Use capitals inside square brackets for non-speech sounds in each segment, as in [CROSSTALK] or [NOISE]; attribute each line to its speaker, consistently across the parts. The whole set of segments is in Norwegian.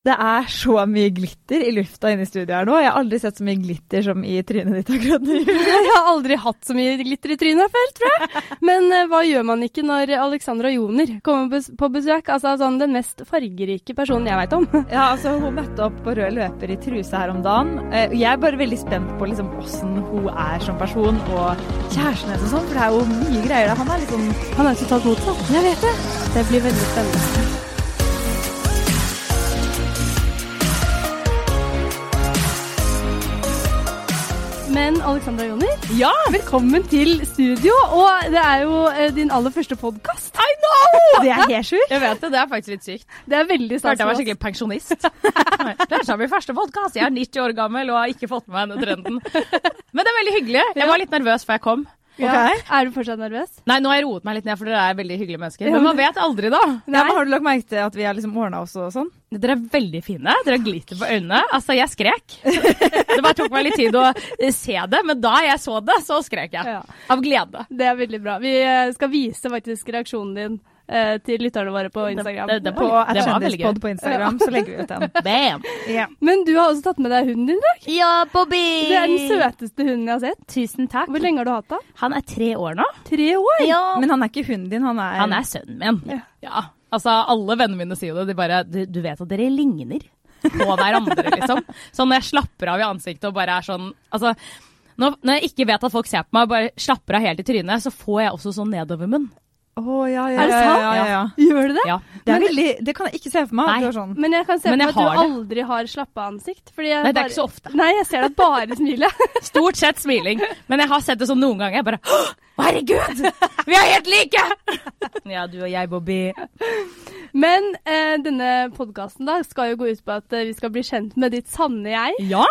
Speaker 1: Det er så mye glitter i lufta inne i studio her nå. Jeg har aldri sett så mye glitter som i trynet ditt akkurat nå.
Speaker 2: Jeg har aldri hatt så mye glitter i trynet før, tror jeg. Men eh, hva gjør man ikke når Alexandra Joner kommer bes- på besøk? Altså sånn den mest fargerike personen jeg veit om.
Speaker 1: Ja, altså Hun møtte opp på rød løper i truse her om dagen. Eh, og Jeg er bare veldig spent på liksom åssen hun er som person, og kjæresten hennes og sånn, for det er jo mye greier der. Han er litt sånn
Speaker 2: Han er totalt motsatt. Jeg vet det. Det blir veldig spennende. Men Alexandra Joner,
Speaker 1: Ja!
Speaker 2: velkommen til studio. Og det er jo eh, din aller første podkast. I
Speaker 1: Det er helt sjukt.
Speaker 3: Jeg vet det, det er faktisk litt sykt.
Speaker 2: Det er veldig
Speaker 3: Jeg
Speaker 2: stas.
Speaker 3: Følte jeg var
Speaker 2: for oss.
Speaker 3: skikkelig pensjonist. [LAUGHS] Det er snart min første podkast. Jeg er 90 år gammel og har ikke fått med meg denne trenden. Men det er veldig hyggelig. Jeg var litt nervøs før jeg kom.
Speaker 2: Ja. Er du fortsatt nervøs?
Speaker 3: Nei, nå har jeg roet meg litt ned, for dere er veldig hyggelige mennesker. Men man vet aldri, da.
Speaker 1: Nei, men Har du lagt merke til at vi har liksom ordna oss og sånn?
Speaker 3: Dere er veldig fine. Dere har glitter på øynene. Altså, jeg skrek. [LAUGHS] Det bare tok meg litt tid å eh, se det, men da jeg så det, så skrek jeg.
Speaker 2: Ja.
Speaker 3: Av glede.
Speaker 2: Det er veldig bra. Vi eh, skal vise faktisk reaksjonen din eh, til lytterne våre på Instagram.
Speaker 3: det- det var-
Speaker 1: På
Speaker 3: det var veldig
Speaker 1: Atskjendispod
Speaker 3: gøy.
Speaker 1: på Instagram, så legger vi ut den.
Speaker 3: Bam!
Speaker 1: Ja.
Speaker 2: Men du har også tatt med deg hunden din i dag.
Speaker 3: Ja, Bobby!
Speaker 2: Det er den søteste hunden jeg har sett.
Speaker 3: Tusen takk.
Speaker 2: Hvor lenge har du hatt den?
Speaker 3: Han er tre år nå.
Speaker 2: Tre år?
Speaker 3: Ja,
Speaker 1: Men han er ikke hunden din, han er,
Speaker 3: Han er sønnen min.
Speaker 2: Ja.
Speaker 3: Ja. Altså, alle vennene mine sier jo det. De bare du, du vet at dere ligner på hverandre, [LAUGHS] liksom. Sånn når jeg slapper av i ansiktet og bare er sånn Altså, når, når jeg ikke vet at folk ser på meg og bare slapper av helt i trynet, så får jeg også sånn nedovermunn.
Speaker 1: Å, ja, ja,
Speaker 2: Er det
Speaker 1: ja,
Speaker 2: sant?
Speaker 1: Ja, ja, ja.
Speaker 2: Gjør du det?
Speaker 3: Ja.
Speaker 1: Det, er veldig, det kan jeg ikke se for meg.
Speaker 3: Nei.
Speaker 1: at du er sånn.
Speaker 2: Men jeg kan se for
Speaker 3: Men jeg
Speaker 2: meg at du
Speaker 3: har det.
Speaker 2: aldri har slappa ansikt. Fordi jeg
Speaker 3: Nei, det
Speaker 2: bare-
Speaker 3: er ikke så ofte.
Speaker 2: Nei, jeg ser deg bare smile. [LAUGHS]
Speaker 3: Stort sett smiling. Men jeg har sett det sånn noen ganger. Jeg bare Å, herregud! Vi er helt like! [LAUGHS] Ja, du og jeg, Bobby.
Speaker 2: Men eh, denne podkasten skal jo gå ut på at eh, vi skal bli kjent med ditt sanne jeg.
Speaker 3: Ja?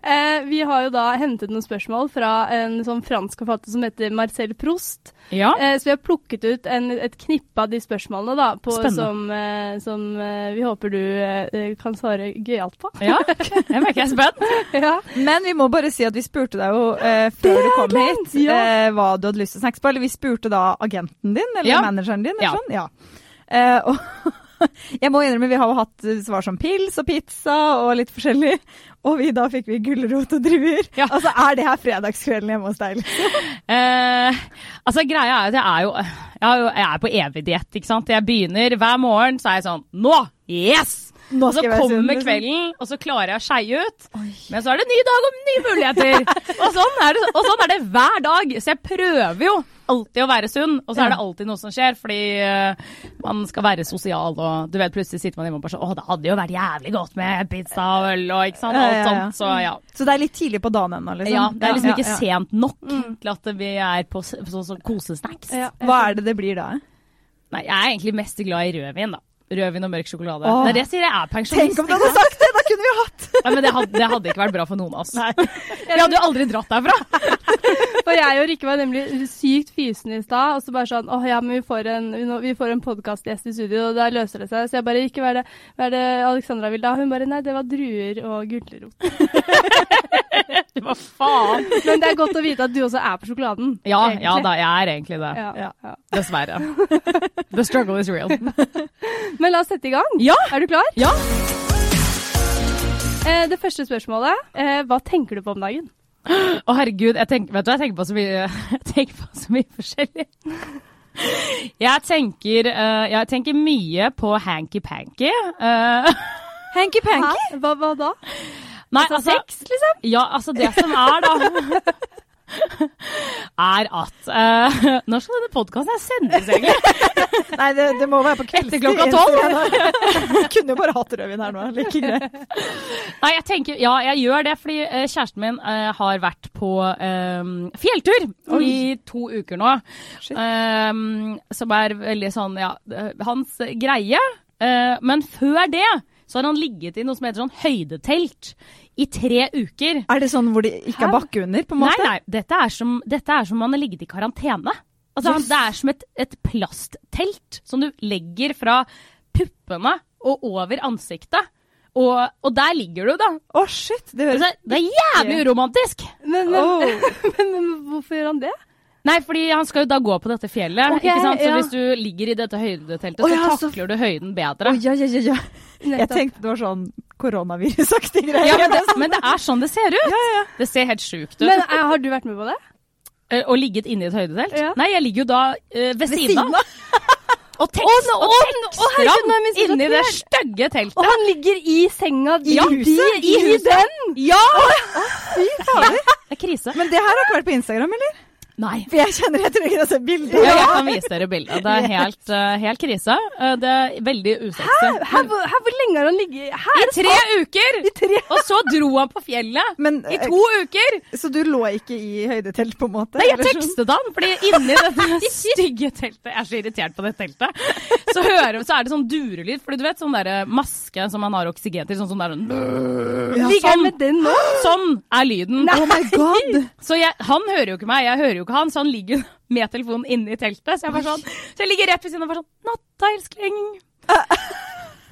Speaker 2: Eh, vi har jo da hentet noen spørsmål fra en sånn fransk forfatter som heter Marcel Proust.
Speaker 3: Ja.
Speaker 2: Eh, så vi har plukket ut en, et knippe av de spørsmålene da, på,
Speaker 3: Spennende.
Speaker 2: som, eh, som eh, vi håper du eh, kan svare gøyalt på.
Speaker 3: ja. Jeg merker jeg er spent.
Speaker 2: ja.
Speaker 1: Men vi må bare si at vi spurte deg jo eh, før du kom
Speaker 2: glemt,
Speaker 1: hit
Speaker 2: ja.
Speaker 1: eh, hva du hadde lyst til å snakke på. Eller vi spurte da agenten din, eller
Speaker 3: Ja.
Speaker 1: manageren din, eller
Speaker 3: Ja.
Speaker 1: sånn. Ja. Eh, og [LAUGHS] jeg må innrømme, vi har jo hatt eh, svar som pils og pizza og litt forskjellig. Og vi, da fikk vi gulrot og druer.
Speaker 3: Ja.
Speaker 1: Altså, er det her fredagskvelden hjemme hos deg? liksom?
Speaker 3: Eh, altså greia er at jeg er jo Jeg, er jo, jeg er på evig diett, ikke sant. Jeg begynner hver morgen, så er jeg sånn Nå! Yes!
Speaker 1: Nå
Speaker 3: Og så
Speaker 1: skal jeg være sunn,
Speaker 3: Altså, kommer
Speaker 1: liksom.
Speaker 3: kvelden, og så klarer jeg å skeie ut. Men så er det ny dag og nye muligheter.
Speaker 1: [LAUGHS]
Speaker 3: og, sånn er det, og sånn er det hver dag. Så jeg prøver jo alltid å være sunn, og så er det alltid noe som skjer. Fordi eh, man skal være sosial, og du vet, plutselig sitter man hjemme og bare sånn Å, det hadde jo vært jævlig godt med pizza og øl og ikke sant.
Speaker 1: Ja, ja,
Speaker 3: Alt
Speaker 1: ja.
Speaker 3: sånt. Så ja.
Speaker 1: Så det er litt tidlig på dagen ennå, liksom?
Speaker 3: Ja, det er liksom
Speaker 1: Ja,
Speaker 3: ikke
Speaker 1: ja. Mm.
Speaker 3: sent nok til at vi er på s- sånn som kosesnacks.
Speaker 2: Ja.
Speaker 1: Hva er det det blir da?
Speaker 3: Nei, jeg er egentlig mest glad i rødvin, da. Rødvin og mørk sjokolade.
Speaker 1: Åh.
Speaker 3: Det er det jeg sier, jeg er pensjonist.
Speaker 1: Tenk om du [LAUGHS] hadde sagt det! Da kunne vi jo hatt
Speaker 3: Nei, men det hadde, det hadde ikke vært bra for noen av oss. [LAUGHS] Vi hadde jo aldri dratt
Speaker 1: [LAUGHS]
Speaker 3: derfra.
Speaker 2: For jeg og Rikke var nemlig sykt fysende i stad, og så bare sånn åh ja, men vi får en, vi nå- vi får en podkastgjest i studio, og da løser det seg. Så jeg bare Rikke, hva er det, hva er det Alexandra vil da? Hun bare nei, det var druer og gulrot.
Speaker 3: Hva faen?
Speaker 2: Men det er godt å vite at du også er på sjokoladen.
Speaker 3: Ja,
Speaker 2: egentlig.
Speaker 3: ja da, jeg er egentlig det.
Speaker 2: Ja,
Speaker 1: Ja.
Speaker 2: ja.
Speaker 3: Dessverre.
Speaker 1: [LAUGHS]
Speaker 3: The struggle is real.
Speaker 2: Men la oss sette i gang.
Speaker 3: Ja!
Speaker 2: Er du klar?
Speaker 3: Ja.
Speaker 2: Eh, det første spørsmålet. Eh, hva tenker du på om dagen?
Speaker 3: Å, herregud. Jeg tenker, vet du, hva, jeg tenker på så mye, [LAUGHS] jeg tenker på så mye forskjellig. Jeg tenker, eh, jeg tenker mye på hanky-panky. eh,
Speaker 1: Hanky-panky!
Speaker 2: Hæ? Hva, hva da?
Speaker 3: nei,
Speaker 2: Altså, sex, liksom?
Speaker 3: Ja, altså det som er da [LAUGHS] Er at eh, [LAUGHS] Når skal denne podkasten sendes egentlig?
Speaker 1: Nei, det, det må være på kveldstid.
Speaker 3: Etter klokka tolv?
Speaker 1: Vi
Speaker 3: [LAUGHS]
Speaker 1: kunne jo bare hatt rødvin her nå. Like greit.
Speaker 3: Nei, jeg tenker, ja, jeg gjør det fordi eh, kjæresten min eh, har vært på eh, fjelltur i to uker nå.
Speaker 1: Shit.
Speaker 3: Eh, som er veldig sånn, ja, eh, hans greie. Eh, men før det så har han ligget i noe som heter sånn høydetelt i tre uker.
Speaker 1: Er det sånn hvor de ikke har bakke under, på en måte?
Speaker 3: Nei, nei. Dette er som, dette er som om man har ligget i karantene. Altså,
Speaker 1: Yes.
Speaker 3: Det er som et, et plasttelt som du legger fra puppene og over ansiktet. Og, og der ligger du, da.
Speaker 1: Å, shit! Det høres
Speaker 3: Altså, det er jævlig uromantisk!
Speaker 2: Men, men,
Speaker 3: [LAUGHS]
Speaker 1: Åh.
Speaker 2: men, men hvorfor gjør han det?
Speaker 3: Nei, fordi han skal jo da gå på dette fjellet.
Speaker 2: Ok,
Speaker 3: ikke sant? Så
Speaker 2: ja.
Speaker 3: hvis du ligger i dette høydeteltet,
Speaker 1: Å, ja,
Speaker 3: så
Speaker 1: så-
Speaker 3: takler du høyden bedre.
Speaker 1: Å, ja, ja, ja, ja. Jeg
Speaker 2: Nettopp.
Speaker 1: tenkte det var sånn koronavirusaktig greie.
Speaker 3: Ja, men det, men det er sånn det ser ut! Det ser helt sjukt ut.
Speaker 2: Men eh, har du vært med på det?
Speaker 3: Eh, og ligget inne i et høydetelt?
Speaker 2: Ja.
Speaker 3: Nei, jeg ligger jo da eh, ved, siden
Speaker 1: siden
Speaker 3: av. Og,
Speaker 2: Å,
Speaker 3: tekst,
Speaker 2: nå-
Speaker 3: og
Speaker 2: å, å,
Speaker 3: tekster
Speaker 2: herregud, nå er
Speaker 3: han
Speaker 2: jeg
Speaker 3: inni det
Speaker 2: misinformert.
Speaker 3: stygge teltet.
Speaker 2: Og han ligger i senga
Speaker 1: I huset,
Speaker 2: I,
Speaker 1: i
Speaker 2: i
Speaker 1: huset.
Speaker 2: den!
Speaker 3: Ja!
Speaker 1: Fy fader.
Speaker 3: Det er krise.
Speaker 1: Men det her har ikke vært på Instagram, eller?
Speaker 3: Nei.
Speaker 1: For jeg kjenner jeg trenger å se bilder.
Speaker 3: Ja, jeg kan vise dere bildet. Det er helt, eh, helt krise. Eh, det er veldig usexy.
Speaker 2: Her, hvor, her, hvor lenge har han ligget her?
Speaker 3: I tre uker! Og så dro han på fjellet
Speaker 1: Men, eh,
Speaker 3: i to uker!
Speaker 1: Så du lå ikke i høydetelt, på en måte?
Speaker 3: Nei, jeg
Speaker 1: eller sånn?
Speaker 3: tekstet han, fordi inni dette stygge teltet Jeg er så irritert på det teltet. Så, hører, så er det sånn durelyd, fordi du vet sånn derre maske som man har oksygen til, sånn som det er sånn
Speaker 1: Ja,
Speaker 2: Ligger han
Speaker 3: sånn.
Speaker 2: med den nå?
Speaker 3: Sånn er lyden.
Speaker 1: Oh my god!
Speaker 3: Så jeg, han hører jo ikke meg, jeg hører jo ikke han, så han ligger [LAUGHS] jo med telefonen inne i teltet. Så jeg, bare sånn, så jeg ligger rett ved siden av og bare sånn Natta, elskling.
Speaker 2: Er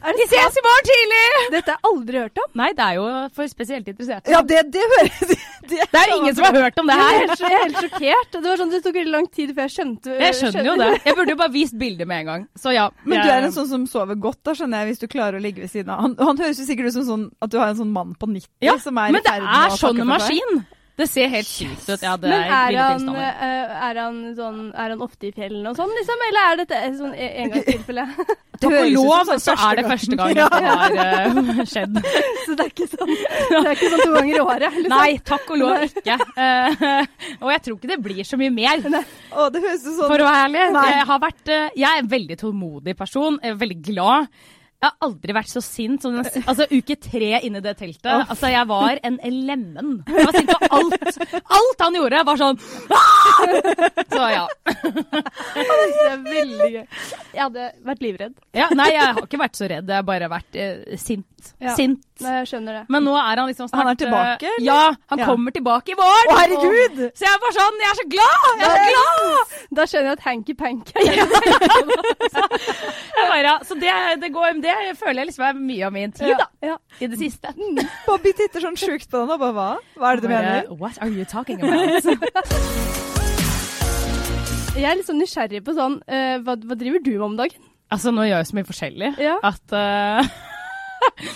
Speaker 2: det
Speaker 3: Vi ses i morgen tidlig!
Speaker 2: Dette har jeg aldri hørt om.
Speaker 3: Nei, det er jo for spesielt interesserte.
Speaker 1: Ja, det, det høres
Speaker 3: [LAUGHS]
Speaker 1: det.
Speaker 3: Det er jo ingen som har hørt om det
Speaker 2: Jeg er
Speaker 3: her.
Speaker 2: helt, jeg er helt sjokkert. Det var sånn, det tok veldig lang tid før jeg skjønte
Speaker 3: Jeg skjønner jo det. Jeg burde jo bare vist bildet med en gang. Så ja.
Speaker 1: Men
Speaker 3: jeg-
Speaker 1: du er en sånn som sover godt, da, skjønner jeg, hvis du klarer å ligge ved siden av. Han, han høres jo sikkert ut som sånn at du har en sånn mann på 90
Speaker 3: Ja,
Speaker 1: som er
Speaker 3: Men det er sånn
Speaker 1: takke for seg.
Speaker 3: maskin! Det ser helt sykt ut. Ja, det
Speaker 2: Men er
Speaker 3: ville
Speaker 2: han,
Speaker 3: tilstander.
Speaker 2: eh, er, han sånn, er han ofte i fjellene og sånn, liksom? Eller er dette et sånn en- engangstilfelle?
Speaker 3: Takk og
Speaker 1: høres ut som
Speaker 3: lov,
Speaker 1: sånn
Speaker 3: så er det første gang
Speaker 1: [LAUGHS] Ja.
Speaker 3: det har eh, skjedd.
Speaker 2: [LAUGHS] Så det er ikke sånn, det er ikke sånn to ganger i året? Liksom.
Speaker 3: Nei, takk og lov ikke. Eh, og jeg tror ikke det blir så mye mer.
Speaker 1: Å, det høres ut sånn
Speaker 3: For å være ærlig,
Speaker 1: Nei.
Speaker 3: jeg, har vært, eh, jeg er en veldig tålmodig person, jeg er veldig glad. Jeg har aldri vært så sint som den, s- altså, uke tre inni det teltet. Altså, jeg var en lemen. Jeg var sint på alt. Alt han gjorde, var sånn «Ah!» Så ja.
Speaker 2: Det er veldig gøy. Jeg hadde vært livredd.
Speaker 3: ja. Nei, jeg har ikke vært så redd. Jeg har bare vært eh, sint.
Speaker 2: Ja.
Speaker 3: Sint.
Speaker 2: Nei, jeg skjønner det.
Speaker 3: Men nå er han liksom snart
Speaker 1: Han er tilbake,
Speaker 3: eh,
Speaker 1: eller?
Speaker 3: Ja, han
Speaker 1: Ja.
Speaker 3: kommer tilbake i morgen.
Speaker 1: Å, herregud!
Speaker 3: Så jeg er bare sånn Jeg er så glad! Jeg er så glad!
Speaker 2: Da skjønner jeg at hanky panky er
Speaker 3: Jeg bare, ja. Så det, det går det føler jeg liksom er mye av min tid, da.
Speaker 2: [LAUGHS] Ja. Mm.
Speaker 3: I det siste.
Speaker 1: Bobby titter sånn sjukt på den og bare hva? Hva er det du mener?
Speaker 3: What are you talking about?
Speaker 2: Jeg er litt sånn nysgjerrig på sånn eh, hva, hva driver du med om dagen?
Speaker 3: [LAUGHS] altså, nå gjør jeg så mye forskjellig
Speaker 2: Ja.
Speaker 3: at eh, [LAUGHS]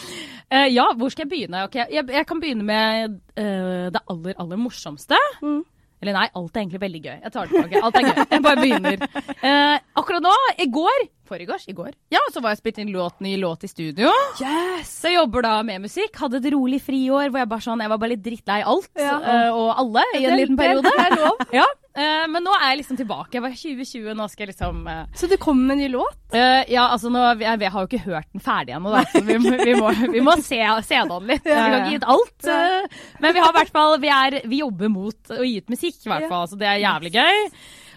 Speaker 3: eh, Ja, hvor skal jeg begynne? Ok, jeg, jeg kan begynne med eh, det aller, aller morsomste.
Speaker 2: Mm.
Speaker 3: Eller nei, alt er egentlig veldig gøy. Jeg tar det tilbake. Alt er gøy. Jeg bare begynner. Eh, akkurat nå, i går Forrigårs? I går. Ja, så var jeg og spilte inn låt, ny låt i studio.
Speaker 1: Yes!
Speaker 3: Så jeg jobber da med musikk. Hadde et rolig friår hvor jeg bare sånn Jeg var bare litt drittlei alt
Speaker 2: Ja.
Speaker 3: eh, og alle i en
Speaker 2: Det-
Speaker 3: liten periode.
Speaker 2: Det er lov.
Speaker 3: [LAUGHS] Ja, eh, men nå er jeg liksom tilbake. Jeg var 2020, nå skal jeg liksom eh,
Speaker 2: Så du kommer med en ny låt?
Speaker 3: eh, Ja, altså nå Jeg, jeg har jo ikke hørt den ferdig ennå, da. Så vi, må- vi, må, vi må se, se den litt. Vi kan ikke gi ut alt. eh, men vi har i hvert fall vi, er, vi jobber mot å gi ut musikk, i hvert
Speaker 2: Ja.
Speaker 3: fall. Så det er jævlig gøy.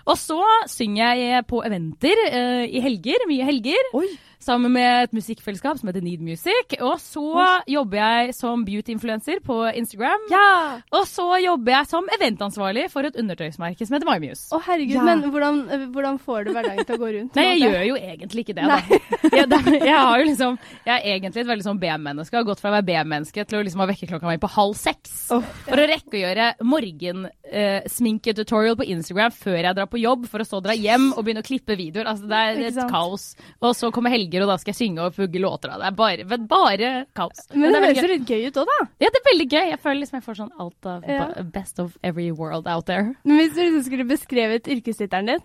Speaker 3: Og så synger jeg på eventer eh, i helger. Mye helger.
Speaker 1: Oi!
Speaker 3: Sammen med et musikkfellesskap som heter Need Music. Og så jobber jeg som beauty-influencer på Instagram.
Speaker 2: Ja!
Speaker 3: Og så jobber jeg som eventansvarlig for et undertøysmerke som heter MyMuse.
Speaker 2: Å herregud,
Speaker 1: Ja.
Speaker 2: men hvordan, eh, hvordan får du hverdagen til å gå rundt?
Speaker 3: Nei, jeg
Speaker 2: Måte?
Speaker 3: gjør jo egentlig ikke det, da. [LAUGHS] Jeg, da jeg, har jo liksom, jeg er egentlig et veldig sånn B-menneske. Jeg Har gått fra å være B-menneske til å liksom ha vekkerklokka mi på halv seks.
Speaker 1: Åh.
Speaker 3: For å rekke å gjøre morgensminketutorial på Instagram før jeg drar på jobb, for å så dra hjem og begynne å klippe videoer. Altså, det er
Speaker 2: Ikke
Speaker 3: et
Speaker 2: sant?
Speaker 3: kaos. Og så kommer helger, og da skal jeg synge og pugge låter. da. Det er bare, vet- bare kaos.
Speaker 2: Men det
Speaker 3: er
Speaker 2: høres
Speaker 3: veldig
Speaker 2: jo
Speaker 3: gøy.
Speaker 2: litt gøy ut òg, da.
Speaker 3: Ja, det er veldig gøy. Jeg føler liksom jeg får sånn alt av
Speaker 2: Ja.
Speaker 3: best of every world out there.
Speaker 2: Men hvis du liksom skulle beskrevet yrkestittelen din,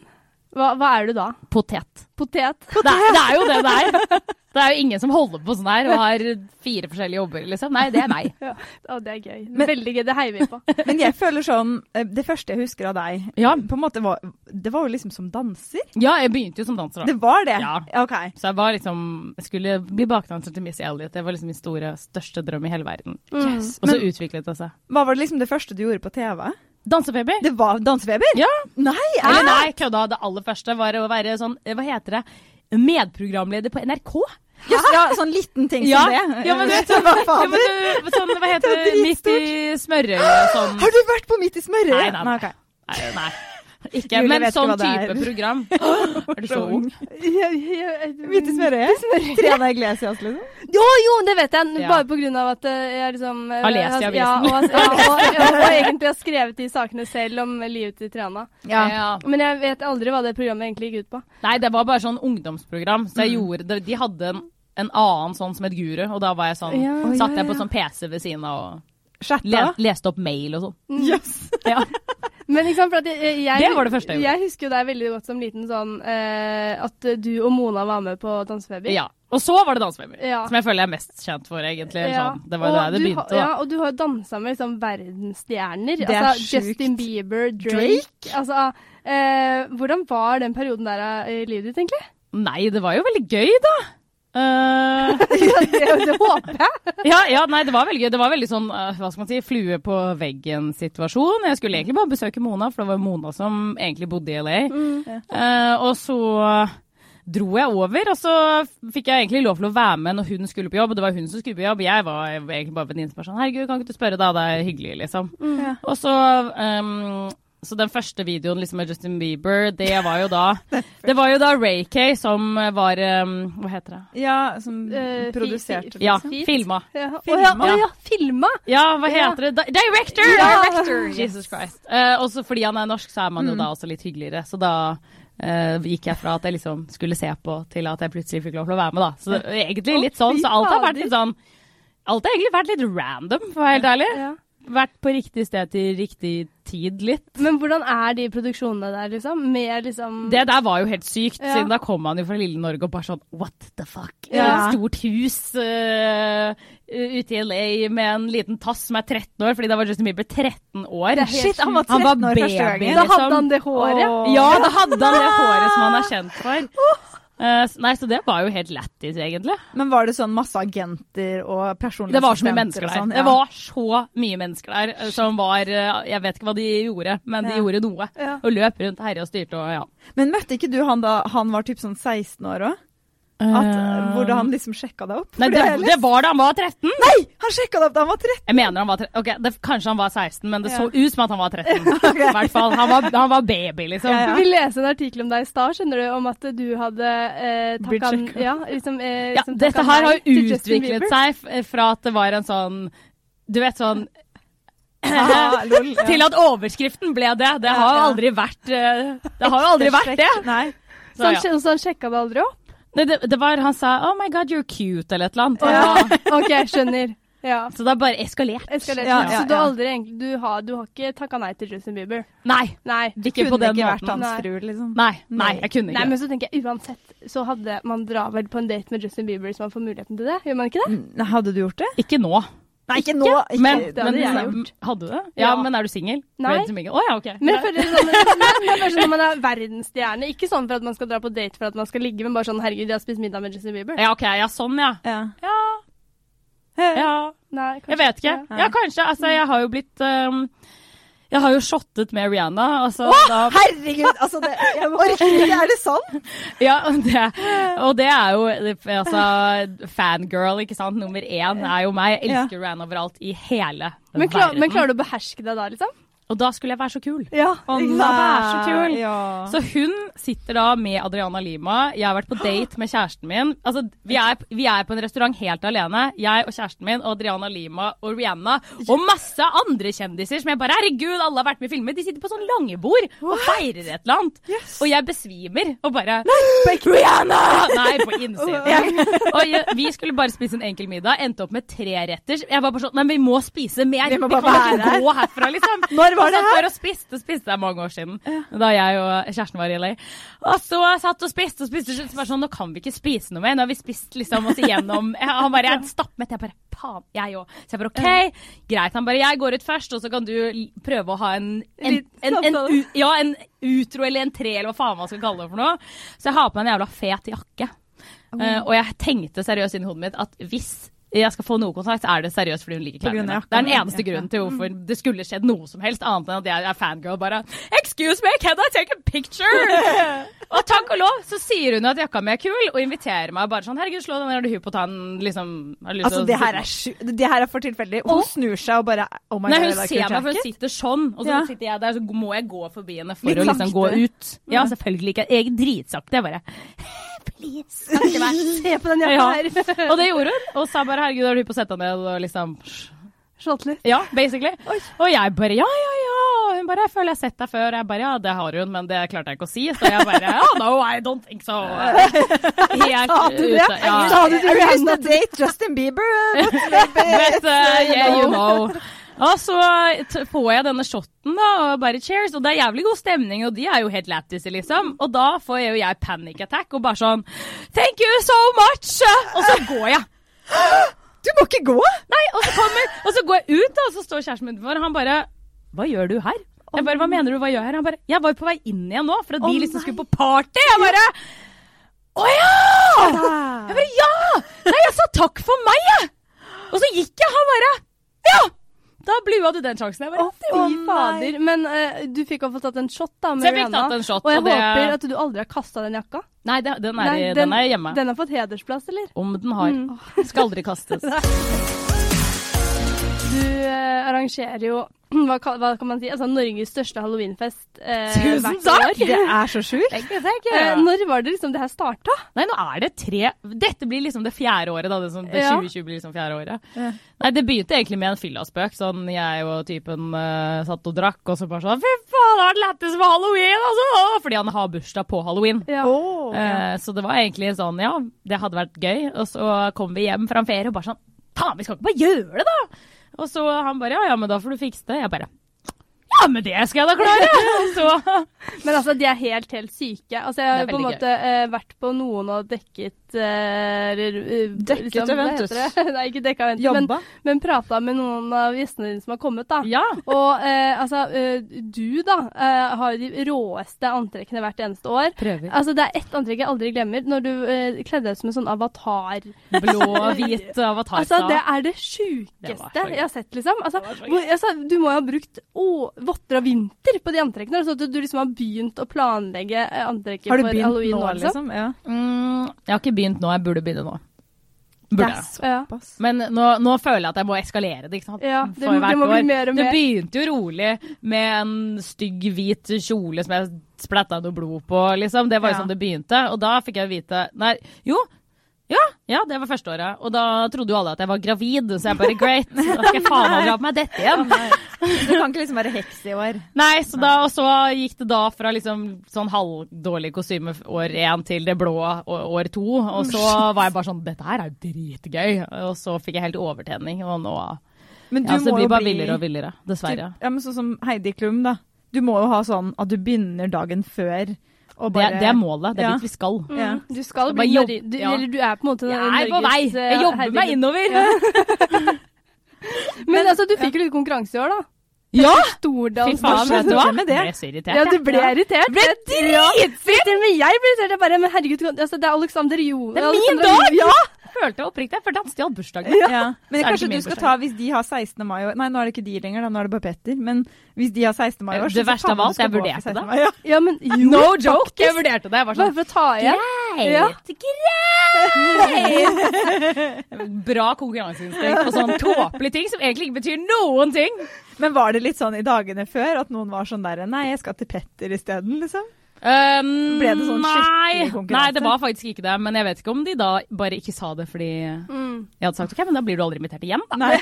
Speaker 2: hva, hva er du da?
Speaker 3: Potet.
Speaker 2: Potet?
Speaker 3: Det er, det er jo det det er. Det er jo ingen som holder på sånn her og har fire forskjellige jobber, liksom. Nei, det er meg.
Speaker 2: Ja. Å, det er gøy.
Speaker 1: Men-
Speaker 2: Veldig gøy. Det heier vi på.
Speaker 1: Men jeg føler sånn eh, Det første jeg husker av deg,
Speaker 3: Ja.
Speaker 1: på en måte var Det var jo liksom som danser.
Speaker 3: Ja, jeg begynte jo som danser, da.
Speaker 1: Det var det?
Speaker 3: Ja.
Speaker 1: OK.
Speaker 3: Så jeg var liksom Jeg skulle bli bakdanser til Missy Elliot. Det var liksom min store, største drøm i hele verden.
Speaker 2: [LAUGHS] Yes.
Speaker 3: Og så
Speaker 1: Men-
Speaker 3: utviklet det seg.
Speaker 1: Hva var det liksom det første du gjorde på TV?
Speaker 3: Dansefeber.
Speaker 1: Det var dansefeber?
Speaker 3: Ja.
Speaker 1: Nei!
Speaker 3: Eller nei, kødda. Det aller første var å være sånn eh, Hva heter det? Medprogramleder på NRK.
Speaker 1: Just, ja, sånn liten ting
Speaker 3: Ja.
Speaker 1: som det.
Speaker 3: Ja, men du vet
Speaker 1: hva
Speaker 3: Ja,
Speaker 1: faen
Speaker 3: men du, sånn, hva heter
Speaker 1: Det
Speaker 3: det?
Speaker 1: er
Speaker 3: Midt i smørøyet og sånn.
Speaker 1: Har du vært på Midt i smørøyet?
Speaker 3: Nei, nei, nei.
Speaker 1: ok.
Speaker 3: Nei, nei. ikke.
Speaker 1: Julie
Speaker 3: Men
Speaker 1: vet ikke
Speaker 3: sånn
Speaker 1: hva det
Speaker 3: type
Speaker 1: er.
Speaker 3: program.
Speaker 1: [LAUGHS]
Speaker 3: Er du så ung?
Speaker 1: Hvite smørøye? Triana Iglesias, liksom?
Speaker 2: Jo, jo, det vet jeg.
Speaker 3: Ja.
Speaker 2: Bare på grunn av at eh, jeg liksom eh,
Speaker 3: Har lest i
Speaker 2: har-
Speaker 3: avisen.
Speaker 2: Ja, og, har- ja, og, ja, og
Speaker 3: [LAUGHS]
Speaker 2: egentlig har skrevet de sakene selv om livet til Triana.
Speaker 3: Ja.
Speaker 2: Men jeg vet aldri hva det programmet egentlig gikk ut på.
Speaker 3: Nei, det var bare sånn ungdomsprogram. Så
Speaker 1: Mm.
Speaker 3: jeg gjorde det. De hadde en, en annen sånn som het Guru, og da var jeg sånn,
Speaker 2: Ja. Oi,
Speaker 3: satt
Speaker 1: ja,
Speaker 3: jeg på
Speaker 1: ja.
Speaker 3: sånn PC ved siden av og le,
Speaker 1: Chatta?
Speaker 3: leste opp mail og sånn.
Speaker 1: Yes.
Speaker 3: Ja.
Speaker 2: Mm. Men ikke sant, for at jeg, jeg,
Speaker 3: Det var det første jeg gjorde.
Speaker 2: jeg husker jo deg veldig godt som liten sånn eh, at du og Mona var med på Dansefeber.
Speaker 3: ja. Og så var det Dansefeber,
Speaker 2: Ja.
Speaker 3: som jeg føler jeg er mest kjent for, egentlig. eller
Speaker 2: Ja.
Speaker 3: Sånn. Det var jo
Speaker 2: Og
Speaker 3: der det
Speaker 2: du
Speaker 3: begynte.
Speaker 2: har- Ja,
Speaker 3: da.
Speaker 2: og du har jo dansa med liksom verdensstjerner.
Speaker 1: Det er
Speaker 2: altså
Speaker 1: sjukt.
Speaker 2: Justin Bieber, Drake.
Speaker 1: Drake?
Speaker 2: Altså, eh, hvordan var den perioden der eh, i livet ditt, egentlig?
Speaker 3: Nei, det var jo veldig gøy, da. Eh,
Speaker 2: Ja, det, det håper jeg.
Speaker 3: ja, ja, nei, det var veldig gøy. Det var veldig sånn, eh, hva skal man si, flue på veggen-situasjon. Jeg skulle egentlig bare besøke Mona, for det var Mona som egentlig bodde i LA. Eh, og så dro jeg over, og så fikk jeg egentlig lov til å være med når hun skulle på jobb. og Det var hun som skulle på jobb, jeg var egentlig bare venninne som var sånn Herregud, kan ikke du spørre, da? Det er hyggelig, liksom.
Speaker 1: Ja.
Speaker 3: Og så ehm, Så den første videoen liksom med Justin Bieber, det var jo da Det var jo da Ray Kay som var ehm, Hva heter det?
Speaker 1: Ja, som
Speaker 2: Eh, fi-
Speaker 1: produserte
Speaker 3: Ja,
Speaker 2: Fint.
Speaker 3: filma.
Speaker 2: Ja. Å
Speaker 1: Filma.
Speaker 2: ja, å ja, filma!
Speaker 3: Ja, hva heter det? Di- Director!
Speaker 2: Ja.
Speaker 3: Jesus Christ. Eh, også fordi han er norsk, så er man jo da også litt hyggeligere. Så da eh, gikk jeg fra at jeg liksom skulle se på, til at jeg plutselig fikk lov til å være med, da. Så det, [LAUGHS] egentlig litt sånn. Så alt har vært litt sånn Alt har egentlig vært litt random, for å være helt ærlig.
Speaker 2: [LAUGHS] Ja.
Speaker 3: Vært på riktig sted til riktig tid, litt.
Speaker 2: Men hvordan er de produksjonene der, liksom? Med liksom
Speaker 3: Mm. Det der var jo helt sykt,
Speaker 2: Ja.
Speaker 3: siden da kom han jo fra lille Norge og bare sånn what the fuck?
Speaker 1: Ja.
Speaker 3: Et stort hus eh, ute i LA med en liten tass som er 13 år, fordi da var Justin Bieber 13 år.
Speaker 2: Det er helt
Speaker 1: Shit, han var 13
Speaker 3: Han var
Speaker 1: år første
Speaker 3: baby.
Speaker 1: gangen.
Speaker 2: Da hadde
Speaker 3: liksom-
Speaker 2: han det håret.
Speaker 1: Åh.
Speaker 3: Ja, da hadde han det håret som han er kjent
Speaker 1: [LAUGHS]
Speaker 3: for. Eh, s- nei, så det var jo helt lættis, egentlig.
Speaker 1: Men var det sånn masse agenter og personlige
Speaker 3: Det var så mye
Speaker 1: assistenter
Speaker 3: mennesker der.
Speaker 1: og sånn?
Speaker 3: Det var så mye mennesker der eh, som var eh, Jeg vet ikke hva de gjorde, men de
Speaker 1: Ja.
Speaker 3: gjorde noe.
Speaker 2: Ja.
Speaker 3: Og løp rundt, herja og styrte og ja.
Speaker 1: Men møtte ikke du han da han var typ sånn 16 år òg? Hvor da han liksom sjekka deg opp?
Speaker 3: Eh, Nei,
Speaker 1: For
Speaker 3: det,
Speaker 1: har jeg
Speaker 3: det var da han var 13!
Speaker 1: lest. Han sjekka deg opp da han var 13!
Speaker 3: Jeg mener han var tre Ok, det, kanskje han var 16, men det
Speaker 2: Ja.
Speaker 3: så ut som at han
Speaker 1: [LAUGHS]
Speaker 3: var 13. I hvert fall. Han var, han var baby, liksom.
Speaker 1: Ja, ja.
Speaker 2: Vi leste en artikkel om deg i stad, skjønner du, om at du hadde eh,
Speaker 1: Blitt
Speaker 2: takka
Speaker 1: sjekka.
Speaker 2: ja, liksom, eh,
Speaker 3: Ja,
Speaker 2: liksom
Speaker 3: dette
Speaker 2: takka
Speaker 3: her har
Speaker 2: nei til
Speaker 3: jo
Speaker 2: Justin
Speaker 3: utviklet
Speaker 2: Bieber.
Speaker 3: seg f- fra at det var en sånn Du vet sånn
Speaker 1: Ah,
Speaker 3: [LAUGHS]
Speaker 1: lol, ja.
Speaker 3: Til at overskriften ble det. Det har
Speaker 1: Ja,
Speaker 3: jo
Speaker 1: ja.
Speaker 3: aldri vært eh, Det har jo aldri vært det.
Speaker 1: Nei.
Speaker 2: Så han,
Speaker 3: Så, ja.
Speaker 2: sj- så han sjekka det aldri
Speaker 3: [LAUGHS]
Speaker 2: opp?
Speaker 3: Nei, det, det var Han sa 'Oh my God, you're cute', eller et eller annet.
Speaker 2: OK, skjønner. Ja.
Speaker 3: [LAUGHS] Så det har bare eskalert.
Speaker 2: Eskalert.
Speaker 1: Ja, ja,
Speaker 2: så du har
Speaker 1: ja.
Speaker 2: aldri egentlig du har, du har ikke takka nei til Justin Bieber?
Speaker 3: Nei.
Speaker 2: Nei.
Speaker 3: Ikke på den
Speaker 1: ikke vært
Speaker 3: måten.
Speaker 1: hans frue, liksom.
Speaker 3: Nei, nei, jeg kunne
Speaker 2: Nei,
Speaker 3: ikke.
Speaker 2: men så tenker jeg uansett så hadde man drar vel på en date med Justin Bieber så man får muligheten til det, gjør man ikke det?
Speaker 1: Nei, Hadde du gjort det?
Speaker 3: Ikke nå.
Speaker 1: Nei, ikke nå. Ikke.
Speaker 3: Men,
Speaker 2: det hadde
Speaker 3: men
Speaker 2: jeg
Speaker 3: Hadde du det? Ja,
Speaker 2: Ja.
Speaker 3: men er du singel?
Speaker 2: Nei.
Speaker 3: Ble du singel? Å ja, OK.
Speaker 2: Men jeg føler sånn, [LAUGHS] men det er kanskje når man er verdensstjerne, ikke sånn for at man skal dra på date for at man skal ligge, men bare sånn herregud, jeg har spist middag med Justin Bieber.
Speaker 3: Ja, OK. Ja, sånn, ja.
Speaker 1: ja.
Speaker 3: Ja,
Speaker 1: Ja.
Speaker 3: ja.
Speaker 2: Nei, kanskje
Speaker 3: Jeg vet ikke.
Speaker 2: Ja.
Speaker 1: Nei.
Speaker 3: Ja, kanskje. Altså, jeg har jo blitt ehm, Jeg har jo shottet med Rihanna. Altså, da,
Speaker 1: Herregud, altså det, jeg orker ikke, er det sant?
Speaker 3: ja, og, det, og det er jo altså, Fangirl, ikke sant. Nummer én er jo meg. Jeg elsker Rihanna overalt i hele
Speaker 2: Men, klar,
Speaker 3: verden.
Speaker 2: men klarer du å beherske deg da, liksom?
Speaker 3: Og da skulle jeg være så kul.
Speaker 2: Ja.
Speaker 1: Å
Speaker 3: Ikke sant? Det er så kul.
Speaker 1: Ja.
Speaker 3: Så hun sitter da med Adriana Lima. Jeg har vært på date med kjæresten min. Altså, vi er, vi er på en restaurant helt alene. Jeg og kjæresten min og Adriana Lima og Rihanna og masse andre kjendiser som jeg bare Herregud, alle har vært med i filmer. De sitter på sånn langebord og feirer et eller annet.
Speaker 1: Yes.
Speaker 3: Og jeg besvimer og bare
Speaker 1: [LAUGHS] Rihanna!
Speaker 3: Nei, på innsiden. [LAUGHS] Og jeg, vi skulle bare spise en enkel middag. Endte opp med tre retter. Jeg var bare sånn Nei, men vi må spise mer.
Speaker 1: Vi
Speaker 3: Vi,
Speaker 1: må
Speaker 3: kan
Speaker 1: bare være
Speaker 3: ikke
Speaker 1: her."
Speaker 3: gå herfra, liksom.
Speaker 1: [LAUGHS] Når var det
Speaker 3: Og satt
Speaker 1: her?
Speaker 3: bare og spiste, spiste det er mange år siden. Da jeg og kjæresten var i LA. Og så satt og spiste og spiste. Så bare sånn, nå kan vi ikke spise noe mer. Nå har vi spist liksom oss igjennom.
Speaker 1: [LAUGHS]
Speaker 3: Jeg- Han bare, jeg er stappmett. Jeg bare, faen, jeg òg. Så jeg bare, OK, greit. Han bare, jeg går ut først, og så kan du l- prøve å ha en, en,
Speaker 2: Litt
Speaker 3: en, en,
Speaker 2: samtale.
Speaker 3: u- ja, en utro eller en tre, eller hva faen man skal kalle det for noe. Så jeg har på meg en jævla fet jakke. Eh, og jeg tenkte seriøst inni hodet mitt at hvis jeg skal få noe kontakt, er det seriøst fordi hun liker
Speaker 1: På grunn
Speaker 3: klærne
Speaker 1: av
Speaker 3: mine.
Speaker 1: jakka.
Speaker 3: Det er den eneste
Speaker 1: Ja. Mm.
Speaker 3: grunnen til hvorfor det skulle skjedd noe som helst, annet enn at jeg er fangirl bare Excuse me, can I take a
Speaker 1: [LAUGHS]
Speaker 3: picture? og takk og lov, så sier hun at jakka mi er kul, og inviterer meg bare sånn Herregud, slå den ned, er du hypp på å ta den, liksom har du lyst
Speaker 1: Altså,
Speaker 3: til å
Speaker 1: det her
Speaker 3: sitte
Speaker 1: er, sju- det her er for tilfeldig. Hun snur seg og bare Oh my
Speaker 3: Nei,
Speaker 1: god,
Speaker 3: hun
Speaker 1: I like
Speaker 3: ser
Speaker 1: your
Speaker 3: meg, for hun
Speaker 1: jacket.
Speaker 3: sitter sånn, og så
Speaker 1: Ja.
Speaker 3: sitter jeg der, så må jeg gå forbi henne for
Speaker 1: Litt
Speaker 3: å liksom gå
Speaker 1: sakte. Mm.
Speaker 3: ut. Ja, selvfølgelig ikke. Jeg er dritsakte, jeg bare [LAUGHS] Please, kan ikke være
Speaker 2: Se på den
Speaker 3: Ja.
Speaker 2: jakka her.
Speaker 3: Og
Speaker 2: [LAUGHS]
Speaker 3: det gjorde hun. Og sa bare 'herregud, har du lyst på å sette deg ned?' og liksom
Speaker 2: Slått litt.
Speaker 3: Ja, basically. Og jeg bare 'ja, ja, ja'. Og hun bare 'jeg føler jeg har sett deg før'. Og jeg bare 'ja, det har hun', men det klarte jeg ikke å si. Så jeg bare 'oh no, I don't think
Speaker 1: [LAUGHS]
Speaker 3: so'. Helt
Speaker 1: Sa du det?
Speaker 3: ute. Ja.
Speaker 1: Sa du til Rihanna date Justin Bieber?
Speaker 3: But uh, yeah, you know. Og så t- får jeg denne shotten, da, og bare cheers. Og det er jævlig god stemning, og de er jo helt lættiser, liksom. Og da får jo jeg panic attack og bare sånn Thank you so much! Og så går jeg.
Speaker 1: Du må ikke gå!
Speaker 3: Nei, og så, kommer, og så går jeg ut, da, og så står kjæresten min utenfor, og han bare Hva gjør du her? Jeg bare, Hva mener du, hva gjør jeg her? Han bare Jeg var jo på vei inn igjen nå, for at de liksom skulle på party. Jeg bare Å ja! Jeg bare Ja! Nei, jeg sa takk for meg, jeg! Og så gikk jeg, han bare Ja! Da blua du den sjansen. Jeg bare
Speaker 2: Fy fader. Men eh, du fikk i hvert fall tatt en shot, da. Med
Speaker 3: Så jeg fikk
Speaker 2: Rihanna.
Speaker 3: tatt en shot,
Speaker 2: Og jeg
Speaker 3: og det-
Speaker 2: håper at du aldri har kasta den jakka.
Speaker 3: Nei, det, den, er, i- den Mm. er hjemme.
Speaker 2: Den har fått hedersplass, eller? Mm.
Speaker 3: Om den har. Skal aldri [LAUGHS] kastes.
Speaker 2: Du eh, arrangerer jo [CLEARS THROAT] hva kan, hva kan man si? Altså Norges største halloweenfest eh,
Speaker 3: Tusen
Speaker 2: hvert år.
Speaker 1: Det er så sjukt.
Speaker 2: Eh, når var det liksom det her starta?
Speaker 3: Nei, nå er det tre Dette blir liksom det fjerde året, da. Det, som, det
Speaker 2: Ja.
Speaker 3: 2020 blir liksom fjerde året. Nei, det begynte egentlig med en fyllaspøk. Sånn jeg og typen eh, satt og drakk, og så bare sånn Fy faen, det har vært lættis med halloween, altså! Fordi han har bursdag på halloween.
Speaker 2: Ja.
Speaker 1: Åh.
Speaker 3: Eh, Så det var egentlig sånn, ja, det hadde vært gøy. Og så kom vi hjem fra en ferie og bare sånn Faen, vi skal ikke bare gjøre det, da! Og så han bare ja, ja, men da får du fikse det. Jeg bare ja, men det skal jeg da
Speaker 2: [LAUGHS]
Speaker 3: klare! Og så
Speaker 2: Men altså, de er helt, helt syke. Altså, jeg har
Speaker 3: Det er
Speaker 2: på en
Speaker 3: veldig
Speaker 2: måte eh, vært på noen og dekket eh, eller, eh,
Speaker 1: Dekket
Speaker 2: hva
Speaker 1: eventus.
Speaker 2: heter det? [LAUGHS] Nei, ikke dekka eventus, men,
Speaker 1: Jobba.
Speaker 2: men prata med noen av gjestene dine som har kommet, da.
Speaker 3: Ja.
Speaker 2: Og eh, altså, eh, du da eh, har jo de råeste antrekkene hvert eneste år.
Speaker 3: Prøver.
Speaker 2: Altså, det er ett antrekk jeg aldri glemmer, når du eh, kledde deg ut som en sånn avatar.
Speaker 3: Blå-hvit avatar.
Speaker 2: Altså, det
Speaker 3: da.
Speaker 2: er det
Speaker 3: Det var
Speaker 2: sjukeste
Speaker 3: så gøy.
Speaker 2: jeg har sett, liksom. Altså, hvor, altså, du må jo ha brukt å, votter og vinter på de antrekkene, sånn at du liksom har begynt å planlegge eh, antrekket
Speaker 1: Har du
Speaker 2: for
Speaker 1: begynt
Speaker 2: halloween
Speaker 1: nå, liksom? Ja.
Speaker 3: Mm, jeg har ikke begynt nå, jeg burde begynne nå. Burde.
Speaker 1: Det er
Speaker 3: jeg.
Speaker 2: liksom? Ja.
Speaker 1: såpass.
Speaker 3: Men nå, nå føler jeg at jeg må eskalere det, ikke sant?
Speaker 2: Ja, det-
Speaker 3: For
Speaker 2: det
Speaker 3: hvert
Speaker 2: må bli
Speaker 3: år.
Speaker 2: mer og
Speaker 3: Det
Speaker 2: mer.
Speaker 3: begynte jo rolig med en stygg hvit kjole som jeg splatta noe blod på, liksom. Det var jo
Speaker 1: Ja.
Speaker 3: sånn det begynte. Og da fikk jeg vite Nei, jo. Ja, ja, det var første året. Og da trodde jo alle at jeg var gravid, så jeg bare great. Da skal jeg faen meg dra på meg dette igjen.
Speaker 1: Du kan ikke liksom være heks i år.
Speaker 3: Nei, så da, og så gikk det da fra liksom sånn halvdårlig kostyme f- år én til det blå å- år to. Og så var jeg bare sånn Dette her er jo dritgøy. Og så fikk jeg helt overtenning, og nå
Speaker 1: Men
Speaker 3: ja, så det blir bare villere og villere. Dessverre.
Speaker 1: Typ- Ja, men sånn som Heidi Klum, da. Du må jo ha sånn at du begynner dagen før og
Speaker 3: Det,
Speaker 1: bare
Speaker 3: det er målet. Det er
Speaker 1: Ja.
Speaker 3: dit vi skal.
Speaker 2: Mm,
Speaker 1: Ja.
Speaker 2: Du skal
Speaker 3: Skal
Speaker 2: bli
Speaker 3: bare
Speaker 2: Norge-
Speaker 3: jobbe-
Speaker 2: du,
Speaker 3: ja.
Speaker 2: Eller du er på en måte
Speaker 3: Jeg er på vei!
Speaker 2: Norges, eh,
Speaker 3: Jeg jobber
Speaker 2: herregud.
Speaker 3: meg innover.
Speaker 2: Men altså, du fikk jo litt konkurranse i år, da.
Speaker 3: [LAUGHS] Ja! Fy
Speaker 2: Stordals Norge.
Speaker 3: faen, vet du hva.
Speaker 1: med det.
Speaker 3: Jeg ble så irritert.
Speaker 2: Ja, du
Speaker 3: jeg.
Speaker 2: ble irritert.
Speaker 3: Ble dritsint!
Speaker 2: Til og med jeg ble irritert. Jeg bare, men herregud, du kan- altså, det er Alexander Jo.
Speaker 3: Det er min
Speaker 2: Alexander
Speaker 3: dag!
Speaker 2: Jo-
Speaker 3: Ja! Følte oppriktig. Jeg følte han stjal bursdagen
Speaker 1: [LAUGHS]
Speaker 3: min.
Speaker 1: Ja. Men
Speaker 3: Så er det
Speaker 1: kanskje
Speaker 3: ikke
Speaker 1: du
Speaker 3: min
Speaker 1: skal ta,
Speaker 3: bursdag.
Speaker 1: hvis de har 16. mai i år Nei, nå er det ikke de lenger, da, nå er det bare Petter. Men hvis de har 16. mai i år,
Speaker 3: Det verste av alt, jeg vurderte det.
Speaker 1: Ja.
Speaker 2: Ja, men jo,
Speaker 3: No joke!
Speaker 2: faktisk.
Speaker 3: Jeg vurderte det. Jeg
Speaker 2: Bare
Speaker 3: var sånn
Speaker 2: for å ta igjen. Ja.
Speaker 3: Greit! Greit! Bra konkurranseinstinkt på sånn tåpelig ting som egentlig ikke betyr noen ting.
Speaker 1: Men var det litt sånn i dagene før at noen var sånn derre Nei, jeg skal til Petter isteden, liksom?
Speaker 3: Um,
Speaker 1: Ble det sånn skikkelig
Speaker 3: nei.
Speaker 1: konkurranse?
Speaker 3: Nei, det var faktisk ikke det. Men jeg vet ikke om de da bare ikke sa det fordi jeg
Speaker 2: Mm.
Speaker 3: hadde sagt OK, men da blir du aldri invitert igjen, da.
Speaker 1: Nei.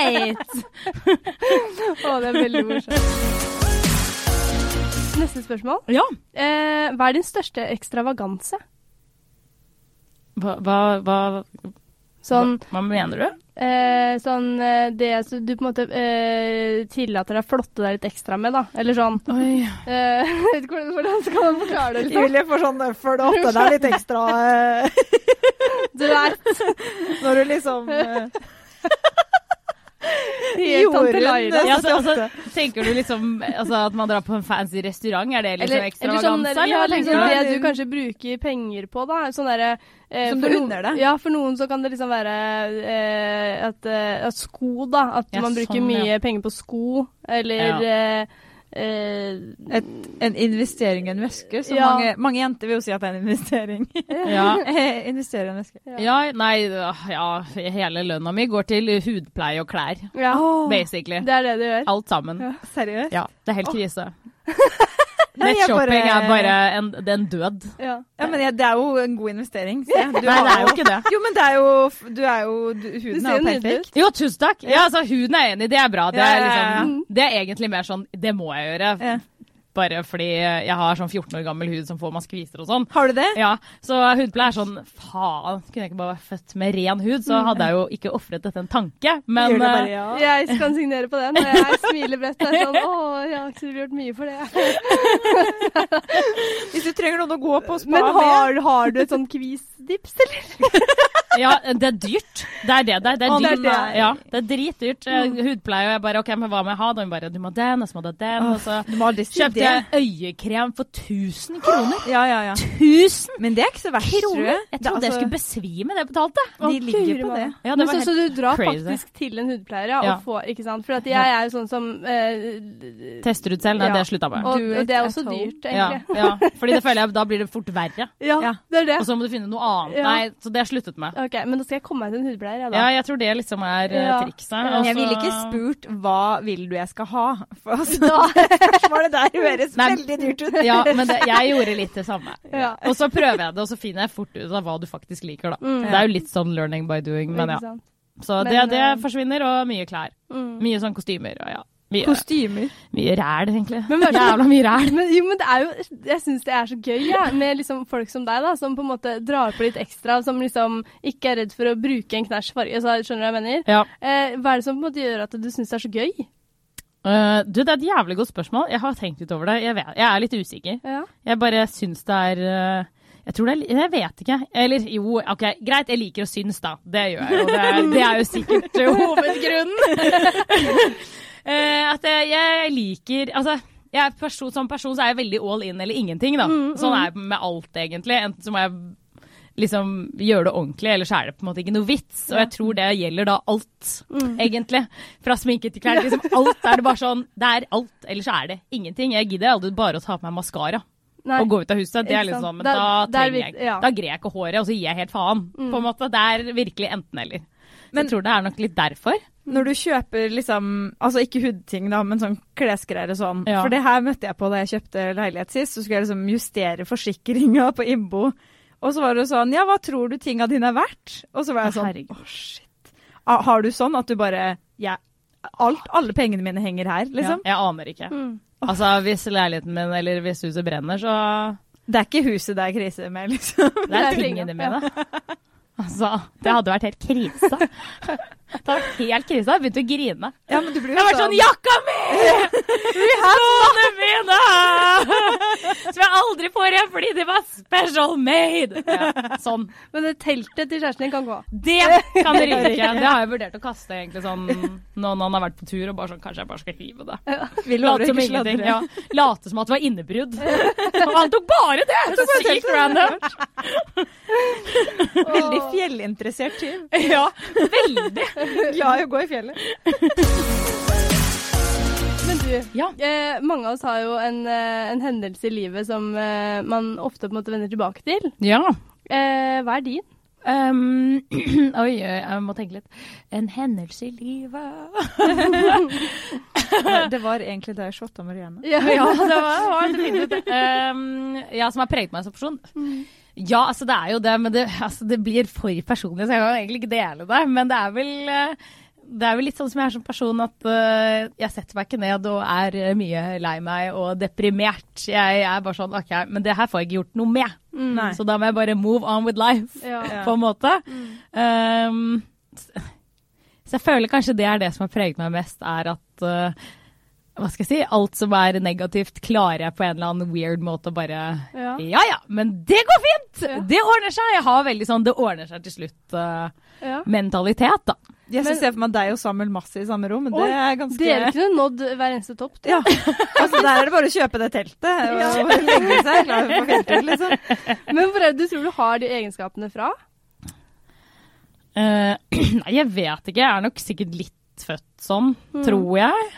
Speaker 3: Greit!
Speaker 2: [LAUGHS] Å, det er veldig morsomt. Neste spørsmål.
Speaker 3: [LAUGHS] Ja.
Speaker 2: Eh, hva er din største ekstravaganse?
Speaker 3: Hva, hva, hva,
Speaker 2: Sånn,
Speaker 3: hva mener du?
Speaker 2: eh, sånn eh, det som du på en måte eh, tillater deg å flotte deg litt ekstra med, da. Eller sånn. Eh, [LAUGHS] jeg vet ikke hvordan- hvordan skal man forklare det? Liksom?
Speaker 1: Julie får sånn For det åtte, det er litt ekstra eh, [LAUGHS]
Speaker 2: Du er
Speaker 1: når du liksom eh,
Speaker 2: Helt tante Laila.
Speaker 3: Ja, altså, altså, tenker du liksom altså, at man drar på en fancy restaurant, er det liksom
Speaker 1: Eller-
Speaker 2: Eller sånn
Speaker 3: ekstravaganza?
Speaker 2: der, ja,
Speaker 3: eller
Speaker 2: liksom,
Speaker 3: tenker du-
Speaker 1: du?
Speaker 2: det du kanskje bruker penger på, da. er Sånn derre eh,
Speaker 1: Som
Speaker 2: for
Speaker 1: du
Speaker 2: noen-
Speaker 1: unner deg.
Speaker 2: Ja, for noen så kan det liksom være eh, at, eh, at sko, da. At
Speaker 3: Ja,
Speaker 2: man bruker
Speaker 3: sånn,
Speaker 2: mye
Speaker 3: ja.
Speaker 2: penger på sko, eller eh, eh,
Speaker 1: Et, en investering i en veske. Så
Speaker 2: Ja.
Speaker 1: mange, mange jenter vil jo si at det er en investering.
Speaker 3: ja.
Speaker 1: [LAUGHS] Investere i en veske.
Speaker 3: ja, nei, øh, ja, hele lønna mi går til hudpleie og klær,
Speaker 2: Ja,
Speaker 3: basically.
Speaker 2: det er det det gjør.
Speaker 3: Alt sammen.
Speaker 1: Seriøst?
Speaker 3: Ja, det er helt krise.
Speaker 1: [LAUGHS] Nei, jeg
Speaker 3: Nettshopping
Speaker 1: bare-
Speaker 3: er bare en, det er en død.
Speaker 2: Ja.
Speaker 1: Ja, men jeg, det er jo en god investering. se. Du
Speaker 3: Nei,
Speaker 1: har
Speaker 3: det er jo ikke det.
Speaker 1: Jo, men det er jo Du er jo du, Huden
Speaker 2: ser
Speaker 1: er
Speaker 2: jo
Speaker 1: jo
Speaker 2: nydelig
Speaker 1: perfekt.
Speaker 2: ut.
Speaker 3: Jo, tusen takk. Ja, altså, huden er enig, det er bra. Det
Speaker 1: Ja,
Speaker 3: er,
Speaker 1: ja, ja.
Speaker 3: liksom, det er egentlig mer sånn, det må jeg gjøre.
Speaker 1: Ja.
Speaker 3: Bare fordi jeg har sånn 14 år gammel hud som får masse kviser og sånn.
Speaker 1: Har du det?
Speaker 3: Ja, så hudpleie er sånn, faen, kunne jeg ikke bare vært født med ren hud, så hadde jeg jo ikke offret dette en tanke. Men
Speaker 1: Mm. Gjør det bare,
Speaker 3: eh,
Speaker 1: ja.
Speaker 2: Jeg kan signere på den. og Jeg smiler bredt. Det
Speaker 1: [LAUGHS]
Speaker 2: er sånn Å, jeg har ikke gjort mye for det.
Speaker 1: Hvis du trenger noen å gå på spa
Speaker 2: Men
Speaker 1: med
Speaker 2: har, har du et sånn kvisdips, eller?
Speaker 3: eh, ja, det er dyrt. Det er det der. Det er,
Speaker 1: Å, det er
Speaker 3: dyrt.
Speaker 1: det. Mm.
Speaker 3: Ja, det er dritdyrt. eh, Hudpleie, og jeg bare, ok, men hva må jeg ha? Da hun bare, du må ha den, og så må du ha den, og så...
Speaker 1: Du må aldri si
Speaker 3: Kjøpte
Speaker 1: det.
Speaker 3: jeg øyekrem for 1000 kroner?
Speaker 1: Ja, ja, ja.
Speaker 3: 1000
Speaker 1: Men det er ikke så verst, tror
Speaker 3: kroner?
Speaker 1: jeg. altså-
Speaker 3: Jeg trodde jeg skulle besvime det jeg betalte.
Speaker 1: De ligger på det.
Speaker 3: Ja, det
Speaker 2: Men
Speaker 3: var
Speaker 2: så, så
Speaker 3: helt...
Speaker 2: du drar
Speaker 3: crazy.
Speaker 2: faktisk til en hudpleier ja, og
Speaker 3: Ja.
Speaker 2: får, ikke sant? For at jeg er jo sånn som eh,
Speaker 3: Tester ut selv? Nei,
Speaker 2: Ja.
Speaker 3: det slutta med.
Speaker 2: Og,
Speaker 1: Do
Speaker 2: og
Speaker 1: it
Speaker 2: det er
Speaker 1: at
Speaker 2: også
Speaker 1: home.
Speaker 2: dyrt,
Speaker 3: Ja,
Speaker 2: egentlig.
Speaker 3: ja, fordi det føler jeg, da blir det fort verre.
Speaker 2: Ja,
Speaker 1: Ja.
Speaker 2: det er det.
Speaker 3: Og så må du finne noe annet.
Speaker 2: Ja.
Speaker 3: Nei, så det har jeg sluttet med.
Speaker 2: Ok, Men da skal jeg komme meg til en hudpleier, jeg, da.
Speaker 3: Ja, jeg tror det liksom er eh,
Speaker 2: Ja.
Speaker 3: trikset.
Speaker 2: Ja.
Speaker 1: Men
Speaker 3: og
Speaker 1: jeg
Speaker 3: så-
Speaker 1: ville ikke spurt hva vil du jeg skal ha.
Speaker 3: [LAUGHS]
Speaker 1: [LAUGHS] For altså, spørsmålet der høres
Speaker 3: Nei.
Speaker 1: veldig dyrt ut. [LAUGHS]
Speaker 3: Ja, men det, jeg gjorde litt det samme.
Speaker 2: Ja.
Speaker 3: Og så prøver jeg det, og så finner jeg fort ut av hva du faktisk liker, da.
Speaker 2: Mm.
Speaker 3: Det er jo litt sånn learning by doing, men ja.
Speaker 2: Ikke sant?
Speaker 3: Så
Speaker 2: Men,
Speaker 3: det, det
Speaker 2: eh,
Speaker 3: forsvinner, og mye klær.
Speaker 2: Mm.
Speaker 3: Mye sånn kostymer og ja. Mye,
Speaker 1: Kostymer.
Speaker 3: mye ræl, egentlig.
Speaker 2: Men hva er det-
Speaker 3: Jævla mye ræl.
Speaker 2: Men, jo, men det er jo, jeg syns det er så gøy ja, med liksom folk som deg, da, som på en måte drar på litt ekstra, som liksom ikke er redd for å bruke en knæsj farge. Så, skjønner du hva jeg mener?
Speaker 3: Ja.
Speaker 2: Eh, hva er det som på en måte gjør at du syns det er så gøy?
Speaker 3: Eh, du, det er et jævlig godt spørsmål. Jeg har tenkt litt over det. Jeg, vet, jeg er litt usikker.
Speaker 2: Ja.
Speaker 3: Jeg bare syns det er eh, Jeg tror det er li- Jeg vet ikke. Eller jo, OK, greit, jeg liker å syns, da. Det gjør jeg jo. Det er, det er jo
Speaker 2: [LAUGHS]
Speaker 3: sikkert hovedgrunnen. Eh, at jeg, jeg liker Altså, jeg er person, som person så er jeg veldig all in eller ingenting, da. Sånn er jeg med alt, egentlig. Enten så må jeg liksom gjøre det ordentlig, eller så er det på en måte ikke noe vits. Og jeg tror det gjelder da alt, egentlig. Fra sminke til klær. Liksom alt er det bare sånn Det er alt, eller så er det ingenting. Jeg gidder aldri bare å ta på meg maskara
Speaker 2: Nei.
Speaker 3: og gå ut av huset. Det
Speaker 2: Ikke
Speaker 3: er litt
Speaker 2: sant.
Speaker 3: sånn, men
Speaker 2: Der-
Speaker 3: da
Speaker 2: der
Speaker 3: trenger
Speaker 2: vil-
Speaker 3: jeg
Speaker 2: ja.
Speaker 3: Da greier jeg ikke håret, og så gir jeg helt faen. På en måte. Det er virkelig enten-eller. Men
Speaker 1: Men-
Speaker 3: jeg tror det er nok litt derfor.
Speaker 1: Når du kjøper liksom Altså ikke hudting, da, men sånn klesgreier og sånn.
Speaker 3: Ja.
Speaker 1: For det her møtte jeg på da jeg kjøpte leilighet sist. Så skulle jeg liksom justere forsikringa på innbo. Og så var det sånn Ja, hva tror du tinga dine er verdt? Og så var jeg
Speaker 3: Å,
Speaker 1: sånn
Speaker 3: herregud.
Speaker 1: Å, shit. Ah, Har du sånn at du bare Ja, alt, alle pengene mine henger her, liksom?
Speaker 3: Ja, jeg aner ikke. Altså, hvis leiligheten min eller hvis huset brenner, så
Speaker 1: Det er ikke huset det er krise med, liksom.
Speaker 3: [LAUGHS] Det er
Speaker 2: Det er
Speaker 3: tingene
Speaker 2: tingene,
Speaker 3: mine. Altså, det hadde vært helt [LAUGHS] krise. Det hadde vært helt krise. Jeg hadde begynt å grine.
Speaker 1: Ja, men du blir
Speaker 3: Jeg har vært sånn Jakka mi! [LAUGHS] Skoene mine! [LAUGHS] Som jeg aldri får igjen fordi de var special made! Ja, sånn.
Speaker 2: Men det teltet til kjæresten din kan gå.
Speaker 3: Det kan [LAUGHS] ryke. Det har jeg vurdert å kaste egentlig sånn nå når han har vært på tur og bare sånn Kanskje jeg bare skal hive det.
Speaker 1: Vi lover
Speaker 3: Late
Speaker 1: å
Speaker 3: som
Speaker 1: ikke
Speaker 3: ingenting.
Speaker 1: sladre.
Speaker 3: Ja. Late som at det var [LAUGHS] innebrudd. Og han tok bare det! Så sykt random.
Speaker 1: Veldig fjellinteressert tyv.
Speaker 3: Ja, veldig.
Speaker 1: Glad i å gå i fjellet.
Speaker 2: Men du,
Speaker 3: Ja.
Speaker 2: eh, mange av oss har jo en, eh, en hendelse i livet som eh, man ofte på en måte vender tilbake til.
Speaker 3: Ja.
Speaker 2: Eh, hva er din?
Speaker 3: Um, [CLEARS THROAT] oi, jeg må tenke litt. En hendelse i livet.
Speaker 1: Det var egentlig da jeg shotta Marianne.
Speaker 2: Ja,
Speaker 3: [LAUGHS] Ja, det var, var definitivt det. Um, ja, som har preget meg som person. Ja, altså det er jo det, men det, altså, det blir for personlig, så jeg kan egentlig ikke dele det. Men det er vel, eh, det er vel litt sånn som jeg er som person, at eh, jeg setter meg ikke ned og er eh, mye lei meg og deprimert. Jeg er bare sånn OK, men det her får jeg ikke gjort noe med.
Speaker 1: Nei.
Speaker 3: Så da må jeg bare move on with life,
Speaker 2: Ja. Mm.
Speaker 1: Ja.
Speaker 3: [LAUGHS] på en måte. Um, så- så jeg føler kanskje det er det som har preget meg mest, er at uh, hva skal jeg si, alt som er negativt, klarer jeg på en eller annen weird måte å bare
Speaker 2: Ja.
Speaker 3: ja ja, men det går fint!
Speaker 2: Ja.
Speaker 3: Det ordner seg! Jeg har veldig sånn det ordner seg til slutt-mentalitet,
Speaker 2: Ja.
Speaker 3: uh, da.
Speaker 1: Jeg
Speaker 2: Men-
Speaker 1: synes jeg ser for meg deg og Samuel Massi i samme rom.
Speaker 2: Oi,
Speaker 1: Det er ganske
Speaker 2: Dere kunne nådd hver eneste topp.
Speaker 1: [LAUGHS] Ja. Altså, der er det bare å kjøpe det teltet og legge seg klar for
Speaker 3: [LAUGHS]
Speaker 1: fjelltur, liksom.
Speaker 2: Men hvor er det du tror du har de egenskapene fra?
Speaker 3: Eh, [CLEARS THROAT] nei, jeg vet ikke. Jeg er nok sikkert litt født sånn, tror jeg.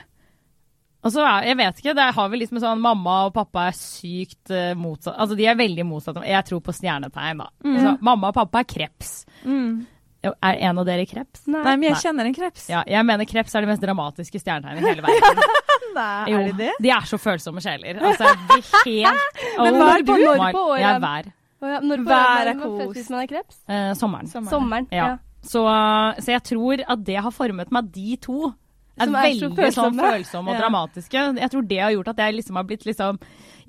Speaker 3: Og så er, jeg vet ikke, det har vel liksom en sånn Mamma og pappa er sykt eh, motsatt Altså, de er veldig motsatt. Jeg tror på stjernetegn, da. Så, mamma og pappa er kreps. Jo, Er en av dere kreps?
Speaker 1: Mm. Nei, men jeg
Speaker 3: Nei.
Speaker 1: kjenner en kreps.
Speaker 3: Ja, jeg mener kreps er det mest dramatiske stjernetegnet i hele verden.
Speaker 1: Nei,
Speaker 3: Jo,
Speaker 1: er det det?
Speaker 3: De er så følsomme sjeler. Altså, de helt
Speaker 2: Men
Speaker 3: Oh
Speaker 2: hva er det på-
Speaker 3: my-
Speaker 2: når på året?
Speaker 3: Jeg er vær.
Speaker 2: Å ja, når på
Speaker 1: Vær
Speaker 2: når
Speaker 1: er
Speaker 2: man
Speaker 1: kos.
Speaker 2: født hvis man er kreps?
Speaker 3: Eh, sommeren.
Speaker 2: Sommeren.
Speaker 3: Ja.
Speaker 2: Ja.
Speaker 3: Så, så jeg tror at det har formet meg de to. Er
Speaker 2: Som er så
Speaker 3: veldig sånn
Speaker 2: følsomme.
Speaker 3: følsomme og
Speaker 1: Ja.
Speaker 3: dramatiske. Jeg tror det har gjort at jeg liksom har blitt liksom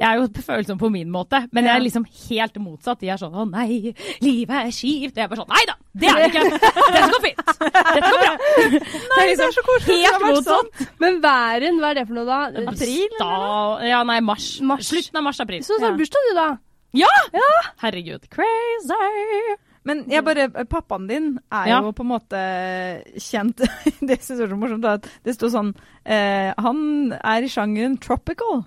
Speaker 3: Jeg er jo følsom på min måte, men jeg er liksom helt motsatt. De er sånn 'Å nei, livet er kjipt'. Jeg er bare sånn 'Nei da, det er det ikke'. Dette går fint. Dette går bra. Nei, det er så koselig. Helt
Speaker 1: sånn
Speaker 3: motsatt.
Speaker 2: Men væren, hva er det for noe da?
Speaker 3: Sta- Ja, nei, mars.
Speaker 2: Mars.
Speaker 3: Slutten av mars-april.
Speaker 2: Så du har
Speaker 1: Ja.
Speaker 2: bursdag du, da?
Speaker 3: Ja! Herregud. Crazy.
Speaker 1: Men jeg bare, eh, pappaen din er
Speaker 3: Ja.
Speaker 1: jo på en måte kjent [LAUGHS] Det synes jeg er så morsomt. da, At det står sånn eh, Han er i sjangeren tropical.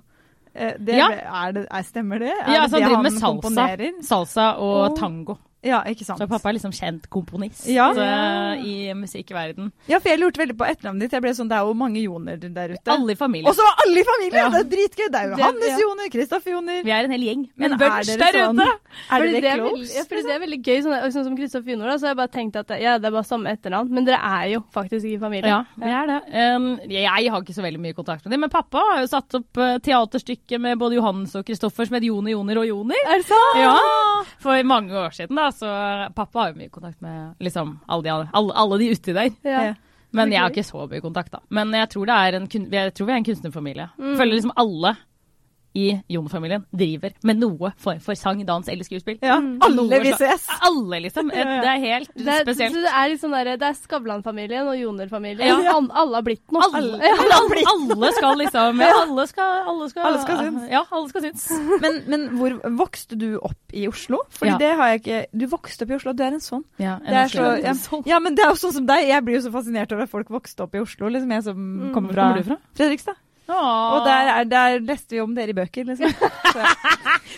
Speaker 1: Eh, det,
Speaker 3: Ja.
Speaker 1: er det, er, stemmer det? Er det
Speaker 3: Ja, altså, han
Speaker 1: det
Speaker 3: driver med salsa,
Speaker 1: komponerer?
Speaker 3: salsa og
Speaker 1: Åh.
Speaker 3: tango.
Speaker 1: Ja, ikke sant.
Speaker 3: Så pappa er liksom kjent komponist
Speaker 1: Ja.
Speaker 3: eh, i musikkverden.
Speaker 1: Ja, for jeg lurte veldig på etternavnet ditt. Jeg ble sånn, Det er jo mange joner der ute.
Speaker 3: Alle i familien.
Speaker 1: Og så var alle i familien!
Speaker 3: Ja.
Speaker 1: Det er dritgøy! Det er jo
Speaker 2: Det-
Speaker 1: Hannes
Speaker 2: ja.
Speaker 1: Joner, Kristoffer Joner
Speaker 3: vi er en hel gjeng.
Speaker 1: Men
Speaker 3: en
Speaker 1: er
Speaker 3: bunch
Speaker 1: dere
Speaker 3: der
Speaker 1: sånn-
Speaker 3: ute.
Speaker 1: Er
Speaker 2: Fordi
Speaker 1: dere
Speaker 2: er
Speaker 1: close?
Speaker 2: veldig- Ja,
Speaker 3: liksom?
Speaker 2: fordi det er veldig gøy, sånn, sånn som Kristoffer Junor, da, så har jeg bare tenkt at ja, det er bare samme etternavn, men dere er jo faktisk ikke familie.
Speaker 3: Ja, vi er det. Um, jeg har ikke så veldig mye kontakt med dem, men pappa har jo satt opp eh, teaterstykke med både Johannes og Kristoffer som het Jone, Joner og Joner.
Speaker 2: Er
Speaker 1: Ah!
Speaker 2: det sant?
Speaker 3: Ja, For mange år siden, da. Så pappa har jo mye kontakt med liksom alle de, andre- alle, alle de uti der.
Speaker 2: Ja.
Speaker 1: Ja.
Speaker 3: Men jeg har
Speaker 2: Ok.
Speaker 3: ikke så mye kontakt, da. Men jeg tror, det er en kun jeg tror vi er en kunstnerfamilie. Føler liksom alle i Jon-familien driver med noe form for sang, dans eller skuespill.
Speaker 1: Ja, Mm. alle
Speaker 3: Noe
Speaker 1: vi
Speaker 3: slag-
Speaker 1: ses!
Speaker 3: Alle, liksom.
Speaker 1: Ja, ja.
Speaker 3: Det er helt
Speaker 2: Det er,
Speaker 3: spesielt.
Speaker 2: Så det er litt sånn der, det er Skavlan-familien og Joner-familien.
Speaker 3: Ja.
Speaker 2: An- Alle har blitt noe.
Speaker 3: Alle, alle, alle skal liksom Alle skal, alle skal,
Speaker 1: Alle skal synes.
Speaker 3: Ja, alle skal synes.
Speaker 1: Men, men hvor vokste du opp i Oslo? Fordi
Speaker 3: Ja.
Speaker 1: det har jeg ikke Du vokste opp i Oslo, du er en sånn.
Speaker 3: Ja,
Speaker 1: Det er så, ja, ja, men det er jo sånn som deg. Jeg blir jo så fascinert over at folk vokste opp i Oslo, liksom jeg som kommer fra
Speaker 3: Hvor kommer du fra?
Speaker 1: Fredrikstad. Og der, er, der leste vi om dere i bøker, liksom. Så,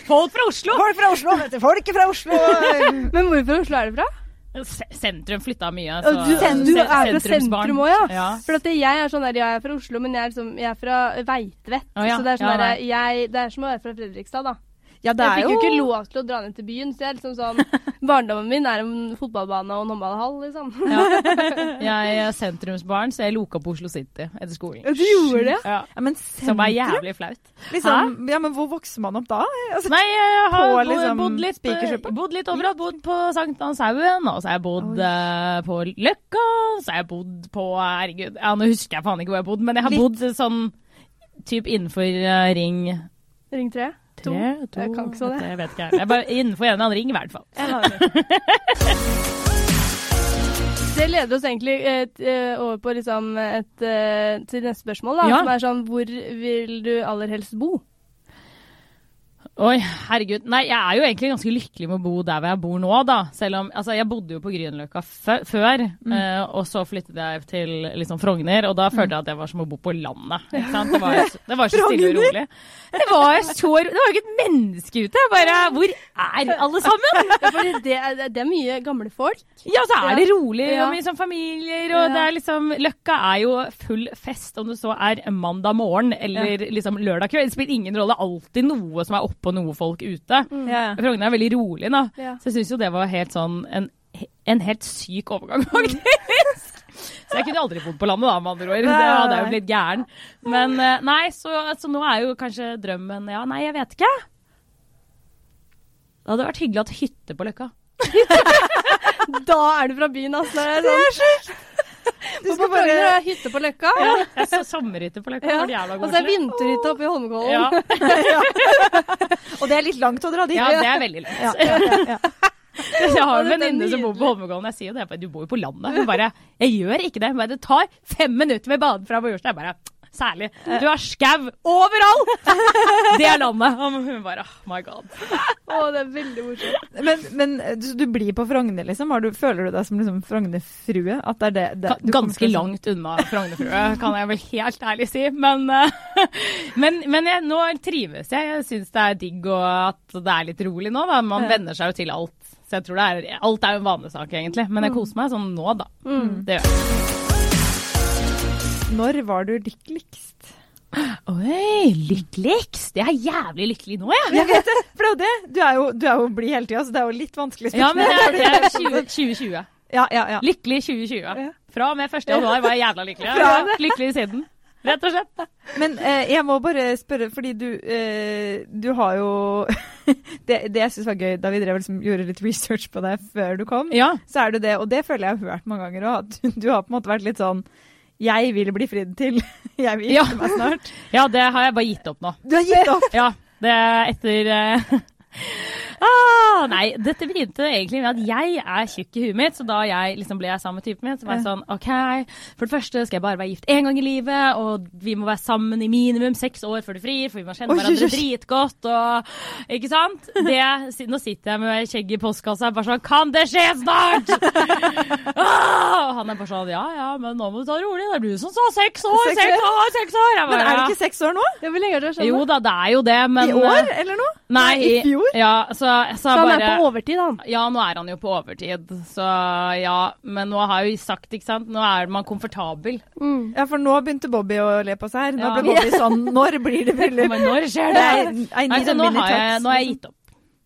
Speaker 3: Folk fra Oslo!
Speaker 1: folk fra Oslo, vet du! Folk fra Oslo!
Speaker 2: Men hvorfor i Oslo er du fra?
Speaker 3: Se- Sentrum flytta mye.
Speaker 2: Og du- du er fra
Speaker 3: sentrumsbarn.
Speaker 2: sentrum også, ja.
Speaker 3: ja.
Speaker 2: For at det- jeg er sånn der, ja, jeg er fra Oslo, men jeg er, liksom, jeg er fra Veitvet.
Speaker 3: Å, ja.
Speaker 2: Så det er, sånn
Speaker 3: Ja,
Speaker 2: der, jeg, det er som å være fra Fredrikstad, da.
Speaker 1: Ja, det er
Speaker 2: jeg fikk
Speaker 1: jo
Speaker 2: jo ikke lov til å dra ned til byen, så jeg er liksom sånn
Speaker 3: [LAUGHS]
Speaker 2: Barndommen min er en fotballbane og en håndballhall, liksom.
Speaker 3: [LAUGHS] Jeg er sentrumsbarn, så jeg loka på Oslo City etter skolen.
Speaker 2: Du gjorde det?
Speaker 3: Ja.
Speaker 1: ja, men
Speaker 3: Som er
Speaker 1: sentrum,
Speaker 3: jævlig flaut.
Speaker 1: liksom, ja, men hvor vokser man opp da? Altså,
Speaker 3: Nei, jeg har
Speaker 1: På,
Speaker 3: bo-
Speaker 1: liksom,
Speaker 3: bodd, litt, eh,
Speaker 1: Spikersuppa?
Speaker 3: bodd litt overalt. Bodd på Sankthanshaugen, og så har jeg bodd eh, på Løkka, så har jeg bodd på Herregud, ja, nå husker jeg faen ikke hvor jeg har bodd, men jeg har
Speaker 1: Litt.
Speaker 3: bodd sånn typ innenfor eh, ring
Speaker 2: Ring tre? To?
Speaker 3: tre, to
Speaker 2: Jeg kan ikke så det.
Speaker 3: Jeg vet ikke. Jeg er bare innenfor en eller annen ring, i hvert fall.
Speaker 1: en annen-
Speaker 2: [LAUGHS] Det leder oss egentlig eh, t- eh, over på liksom et, eh, til neste spørsmål, da,
Speaker 3: Ja.
Speaker 2: som er sånn Hvor vil du aller helst bo?
Speaker 3: Oi, herregud. Nei, jeg er jo egentlig ganske lykkelig med å bo der hvor jeg bor nå, da. Selv om Altså, jeg bodde jo på Grünerløkka fø- før,
Speaker 2: Mm.
Speaker 3: eh, og så flyttet jeg til liksom Frogner, og da
Speaker 2: Mm.
Speaker 3: følte jeg at det var som å bo på landet. Ikke
Speaker 2: [LAUGHS]
Speaker 3: sant? Det var, det var så stille og rolig. Det var så ro- Det var jo ikke et menneske ute. Jeg bare Hvor er alle sammen?
Speaker 2: Ja, for det, er, det er mye gamle folk.
Speaker 3: Ja, så er det rolig,
Speaker 2: Ja.
Speaker 3: og mye sånn familier,
Speaker 2: Ja.
Speaker 3: og det er liksom Løkka er jo full fest, om det så er mandag morgen eller liksom lørdag kveld. Det spiller ingen rolle. Det er alltid noe som er oppe, og noe folk ute.
Speaker 2: Mm.
Speaker 1: ja.
Speaker 3: Frogner er veldig rolig, da.
Speaker 2: Ja.
Speaker 3: Så jeg syns jo det var helt sånn en, en helt syk overgang, faktisk. Så jeg kunne aldri bodd på landet, da, med andre ord. Det
Speaker 1: Nei, nei,
Speaker 3: hadde jeg jo
Speaker 1: nei.
Speaker 3: blitt gæren. Men eh, nei, så, så nå er jo kanskje drømmen Ja, nei, jeg vet ikke. Det hadde vært hyggelig å ha hytte på Løkka.
Speaker 2: [LAUGHS] Da er du fra byen, altså. Det er sånn.
Speaker 1: Du
Speaker 2: På
Speaker 1: skal
Speaker 2: Frogner
Speaker 1: bare
Speaker 2: er hytte på Løkka.
Speaker 3: [LAUGHS] Jeg så sommerhytte på Løkka.
Speaker 2: Ja. Altså,
Speaker 3: Ja. Det var
Speaker 2: Og
Speaker 3: jævla
Speaker 2: så er
Speaker 3: koselig.
Speaker 2: vinterhytta oppe i Holmenkollen.
Speaker 3: Ja.
Speaker 1: Og det er litt langt å dra dit.
Speaker 3: ja, det er veldig lett.
Speaker 1: Ja, ja, ja.
Speaker 3: [LAUGHS] Jeg har en
Speaker 2: Dette er
Speaker 3: venninne som bor på Holmenkollen. Jeg sier jo det. jeg bare, Du bor jo på landet. Hun bare Jeg gjør ikke det. Hun bare Det tar fem minutter med bade fra Majorstua. Jeg bare Særlig. Du har skau overalt! Det er landet. Og hun bare oh my god.
Speaker 2: Å, det er veldig morsomt.
Speaker 1: Men, men du, du blir på Frogner, liksom? Har du, føler du deg som liksom Frogner-frue? At det er det, det du kommer
Speaker 3: Ganske
Speaker 1: til å-
Speaker 3: langt unna Frognerfrue, kan jeg vel helt ærlig si. Men, eh, [LAUGHS] men, men jeg, nå trives jeg. Jeg syns det er digg og at det er litt rolig nå. Da. Man venner seg jo til alt. Så jeg tror det er, alt er jo en vanesak, egentlig. Men jeg
Speaker 1: Mm.
Speaker 3: koser meg sånn nå, da. Det gjør jeg.
Speaker 1: Når var du lykkeligst?
Speaker 3: Oi, lykkeligst! Jeg er jævlig lykkelig nå, jeg.
Speaker 1: Jeg vet det! [LAUGHS] For det er jo det. Du er jo, du er jo blid hele tida, så det er jo litt vanskelig
Speaker 3: Ja, men jeg, jeg er 20,
Speaker 1: [LAUGHS]
Speaker 3: 2020.
Speaker 1: Ja, ja, ja.
Speaker 3: Lykkelig 2020. Fra og med 1. januar var jeg jævla lykkelig. Jeg
Speaker 1: Fra-
Speaker 3: har vært Lykkelig siden. Rett og slett.
Speaker 1: Men eh, jeg må bare spørre, fordi du, eh, du har jo [LAUGHS] det, det jeg syns var gøy da vi drev, og liksom, gjorde litt research på deg før du kom,
Speaker 3: Ja.
Speaker 1: så er du det, og det føler jeg har hørt mange ganger òg, at du, du har på en måte vært litt sånn Jeg vil bli fridd til. [LAUGHS] Jeg vil
Speaker 3: Ja.
Speaker 1: gifte meg snart.
Speaker 3: [LAUGHS] ja, det har jeg bare gitt opp nå.
Speaker 1: Du har gitt [LAUGHS] opp!
Speaker 3: Ja, det er etter eh, [LAUGHS] ah, Nei, dette begynte egentlig med at jeg er tjukk i huet mitt, så da jeg liksom ble sammen med typen min, så var jeg sånn OK, for det første skal jeg bare være gift én gang i livet, og vi må være sammen i minimum seks år før du frir, for vi må kjenne
Speaker 1: Oi,
Speaker 3: hverandre
Speaker 1: oi, oi.
Speaker 3: dritgodt og Ikke sant? Det, si- nå sitter jeg med skjegget i postkassa og bare sånn Kan det skje
Speaker 1: [LAUGHS]
Speaker 3: snart?! ah! Og han er bare sånn Ja ja, men nå må du ta det rolig, det er du som sa seks år,
Speaker 1: Seks
Speaker 3: seks år, seks år! Jeg
Speaker 1: Men
Speaker 3: bare,
Speaker 1: er det ikke seks år nå?
Speaker 2: Ja, hvor lenge har dere vært
Speaker 3: jo
Speaker 2: sammen?
Speaker 3: da, det er jo det, men
Speaker 1: I år, eller noe?
Speaker 3: Nei,
Speaker 1: eh, i fjor?
Speaker 3: Ja, så, så,
Speaker 2: Så han
Speaker 3: bare,
Speaker 2: er på overtid, han.
Speaker 3: Ja, nå er han jo på overtid, så ja. Men nå har jeg jo sagt, ikke sant, nå er man
Speaker 2: [LAUGHS]
Speaker 3: komfortabel.
Speaker 2: Mm.
Speaker 1: Ja, for nå begynte Bobby å le på seg her. Nå
Speaker 3: Ja.
Speaker 1: ble Bobby sånn Når blir det [LAUGHS] bryllup?
Speaker 3: Men når skjer det?
Speaker 1: Nei, I
Speaker 3: Nei,
Speaker 1: need
Speaker 3: så
Speaker 1: a
Speaker 3: nå
Speaker 1: mini
Speaker 3: har jeg,
Speaker 1: tux,
Speaker 3: nå har jeg
Speaker 1: liksom.
Speaker 3: gitt opp.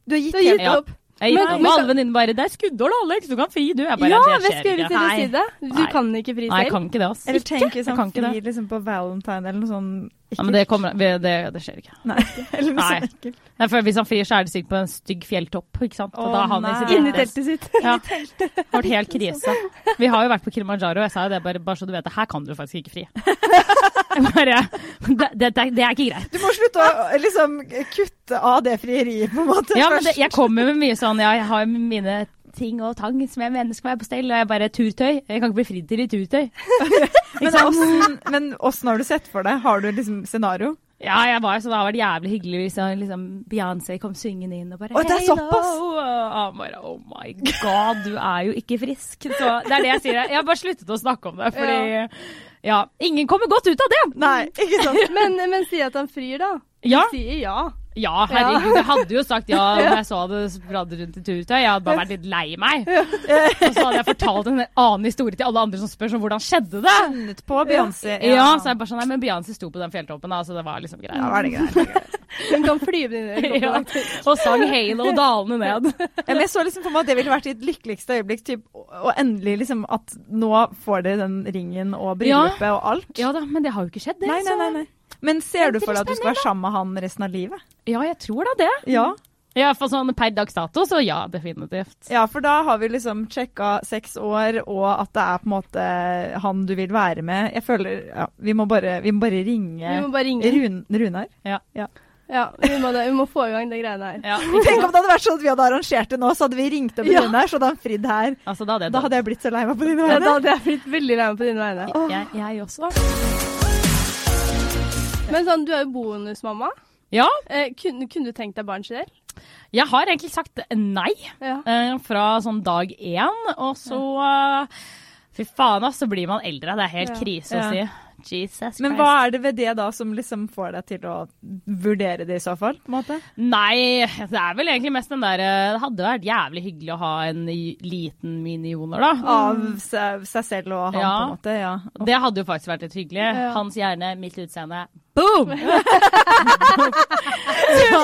Speaker 1: Du har gitt
Speaker 2: Du har
Speaker 1: helt
Speaker 2: gitt
Speaker 3: Ja.
Speaker 2: opp.
Speaker 3: Jeg
Speaker 2: Men-
Speaker 3: gikk opp,
Speaker 2: men
Speaker 3: og
Speaker 2: så-
Speaker 3: alle venninnene bare 'Det er skuddår, da, Alex, du kan fri, du'. Jeg bare,
Speaker 2: Ja,
Speaker 3: det
Speaker 2: hva
Speaker 3: skjer
Speaker 2: skulle
Speaker 3: ikke.
Speaker 2: til å
Speaker 3: Nei.
Speaker 2: si det? Du
Speaker 3: Nei.
Speaker 2: kan ikke fri
Speaker 3: Nei, jeg
Speaker 2: selv.
Speaker 3: kan ikke det, ass.
Speaker 1: Eller tenk hvis
Speaker 3: Jeg
Speaker 1: han
Speaker 3: kan ikke det.
Speaker 1: frir liksom på valentine eller noe sånn
Speaker 3: Ja, men det, kommer, det, det skjer ikke.
Speaker 1: Nei. [LAUGHS] Eller noe
Speaker 3: Nei.
Speaker 1: sånn ekkelt.
Speaker 3: Nei, for hvis han frir, så er det sikkert på en stygg fjelltopp, ikke sant. Og
Speaker 1: Å,
Speaker 3: da er han i
Speaker 1: nei.
Speaker 3: sitt
Speaker 2: Inni
Speaker 3: rette.
Speaker 2: teltet sitt.
Speaker 3: [LAUGHS] Ja. Det har vært helt krise. Vi har jo vært på Kilimanjaro, og jeg sa jo det bare, bare så du vet det. Her kan du faktisk
Speaker 1: [LAUGHS]
Speaker 3: ikke fri. Jeg Bare, det, det, det er ikke
Speaker 1: [LAUGHS]
Speaker 3: greit.
Speaker 1: Du må slutte å liksom kutte av det frieriet, på en måte.
Speaker 3: Ja, men det,
Speaker 1: først.
Speaker 3: jeg kommer med mye sånn ja, jeg har mine ting og tang som jeg mener skal være på stell, og jeg bare turtøy. Jeg kan ikke bli fridd til i turtøy.
Speaker 1: men, åssen, men åssen har du sett for deg? Har du liksom scenario?
Speaker 3: Ja, jeg var jo sånn, det har vært jævlig hyggelig hvis jeg, liksom, Beyoncé kom syngende inn og bare
Speaker 1: Oi, det er
Speaker 3: «Hey,
Speaker 1: såpass!»
Speaker 3: hello!» Og han bare oh my god, du er jo ikke frisk. Så det er det jeg sier. Jeg har bare sluttet å snakke om det, fordi ja, ingen kommer godt ut av det.
Speaker 1: Nei, ikke sånn sant?
Speaker 2: Men, men si at han frir, da.
Speaker 3: Ja.
Speaker 2: Sier ja.
Speaker 3: Ja, herregud. Jeg hadde jo sagt [LAUGHS] ja når jeg så det spradd rundt i turtøy. Jeg hadde bare vært litt lei meg. Og så hadde jeg fortalt en annen historie til alle andre som spør sånn hvordan skjedde det?
Speaker 1: Funnet på Beyoncé.
Speaker 3: Ja, så er jeg bare sånn Nei, men Beyoncé sto på den fjelltoppen, da, så det var liksom
Speaker 1: Ja,
Speaker 3: greit.
Speaker 1: er det greit.
Speaker 2: Hun kan flyve inn i
Speaker 3: [LAUGHS] Ja. Og sang Halo dalende ned.
Speaker 1: [LAUGHS] Ja, men jeg så liksom for meg at det ville vært ditt lykkeligste øyeblikk. Typ, og endelig liksom at nå får dere den ringen og bryllupet og alt.
Speaker 3: Ja da, men det har jo ikke skjedd, det.
Speaker 1: nei, nei, nei, nei. Men ser du for deg at du skal
Speaker 3: Spennende,
Speaker 1: være sammen med han resten av livet?
Speaker 3: så- Ja, jeg tror da det.
Speaker 1: Ja.
Speaker 3: Ja, for sånn per dags dato, så ja, definitivt.
Speaker 1: Ja, for da har vi liksom sjekka seks år, og at det er på en måte han du vil være med. Jeg føler ja, Vi må bare, vi må bare ringe
Speaker 2: Vi må bare ringe.
Speaker 1: Run, Runar.
Speaker 3: Ja.
Speaker 2: Ja, vi må, det. vi må få i gang de greiene her.
Speaker 3: ja.
Speaker 1: Tenk om det hadde vært sånn at vi hadde arrangert det nå, så hadde vi ringt opp
Speaker 2: Ja.
Speaker 1: Runar, så hadde han fridd her.
Speaker 3: Altså, da hadde jeg
Speaker 1: Da hadde jeg blitt så lei meg på dine
Speaker 2: Ja, da
Speaker 1: vegne.
Speaker 2: hadde jeg blitt veldig lei meg på dine vegne.
Speaker 1: Åh.
Speaker 3: jeg, jeg også.
Speaker 2: Men sånn, du er jo bonusmamma.
Speaker 3: Ja,
Speaker 2: Eh, kunne, kunne du tenkt deg barn selv?
Speaker 3: jeg har egentlig sagt nei.
Speaker 2: Ja.
Speaker 3: Eh, fra sånn dag én, og så eh, Fy faen, ass, så blir man eldre. Det er helt
Speaker 2: Ja.
Speaker 3: krise å
Speaker 1: Ja.
Speaker 3: si. Jesus Christ.
Speaker 1: Men hva er det ved det da som liksom får deg til å vurdere det i så fall? på en måte?
Speaker 3: Nei, det er vel egentlig mest den derre Det hadde vært jævlig hyggelig å ha en i- liten minioner, da.
Speaker 1: Av seg, seg selv og han,
Speaker 3: Ja.
Speaker 1: på en måte. Ja.
Speaker 3: Det hadde jo faktisk vært litt hyggelig.
Speaker 2: Ja.
Speaker 3: Hans hjerne, mitt utseende. [LAUGHS] Boom! Så-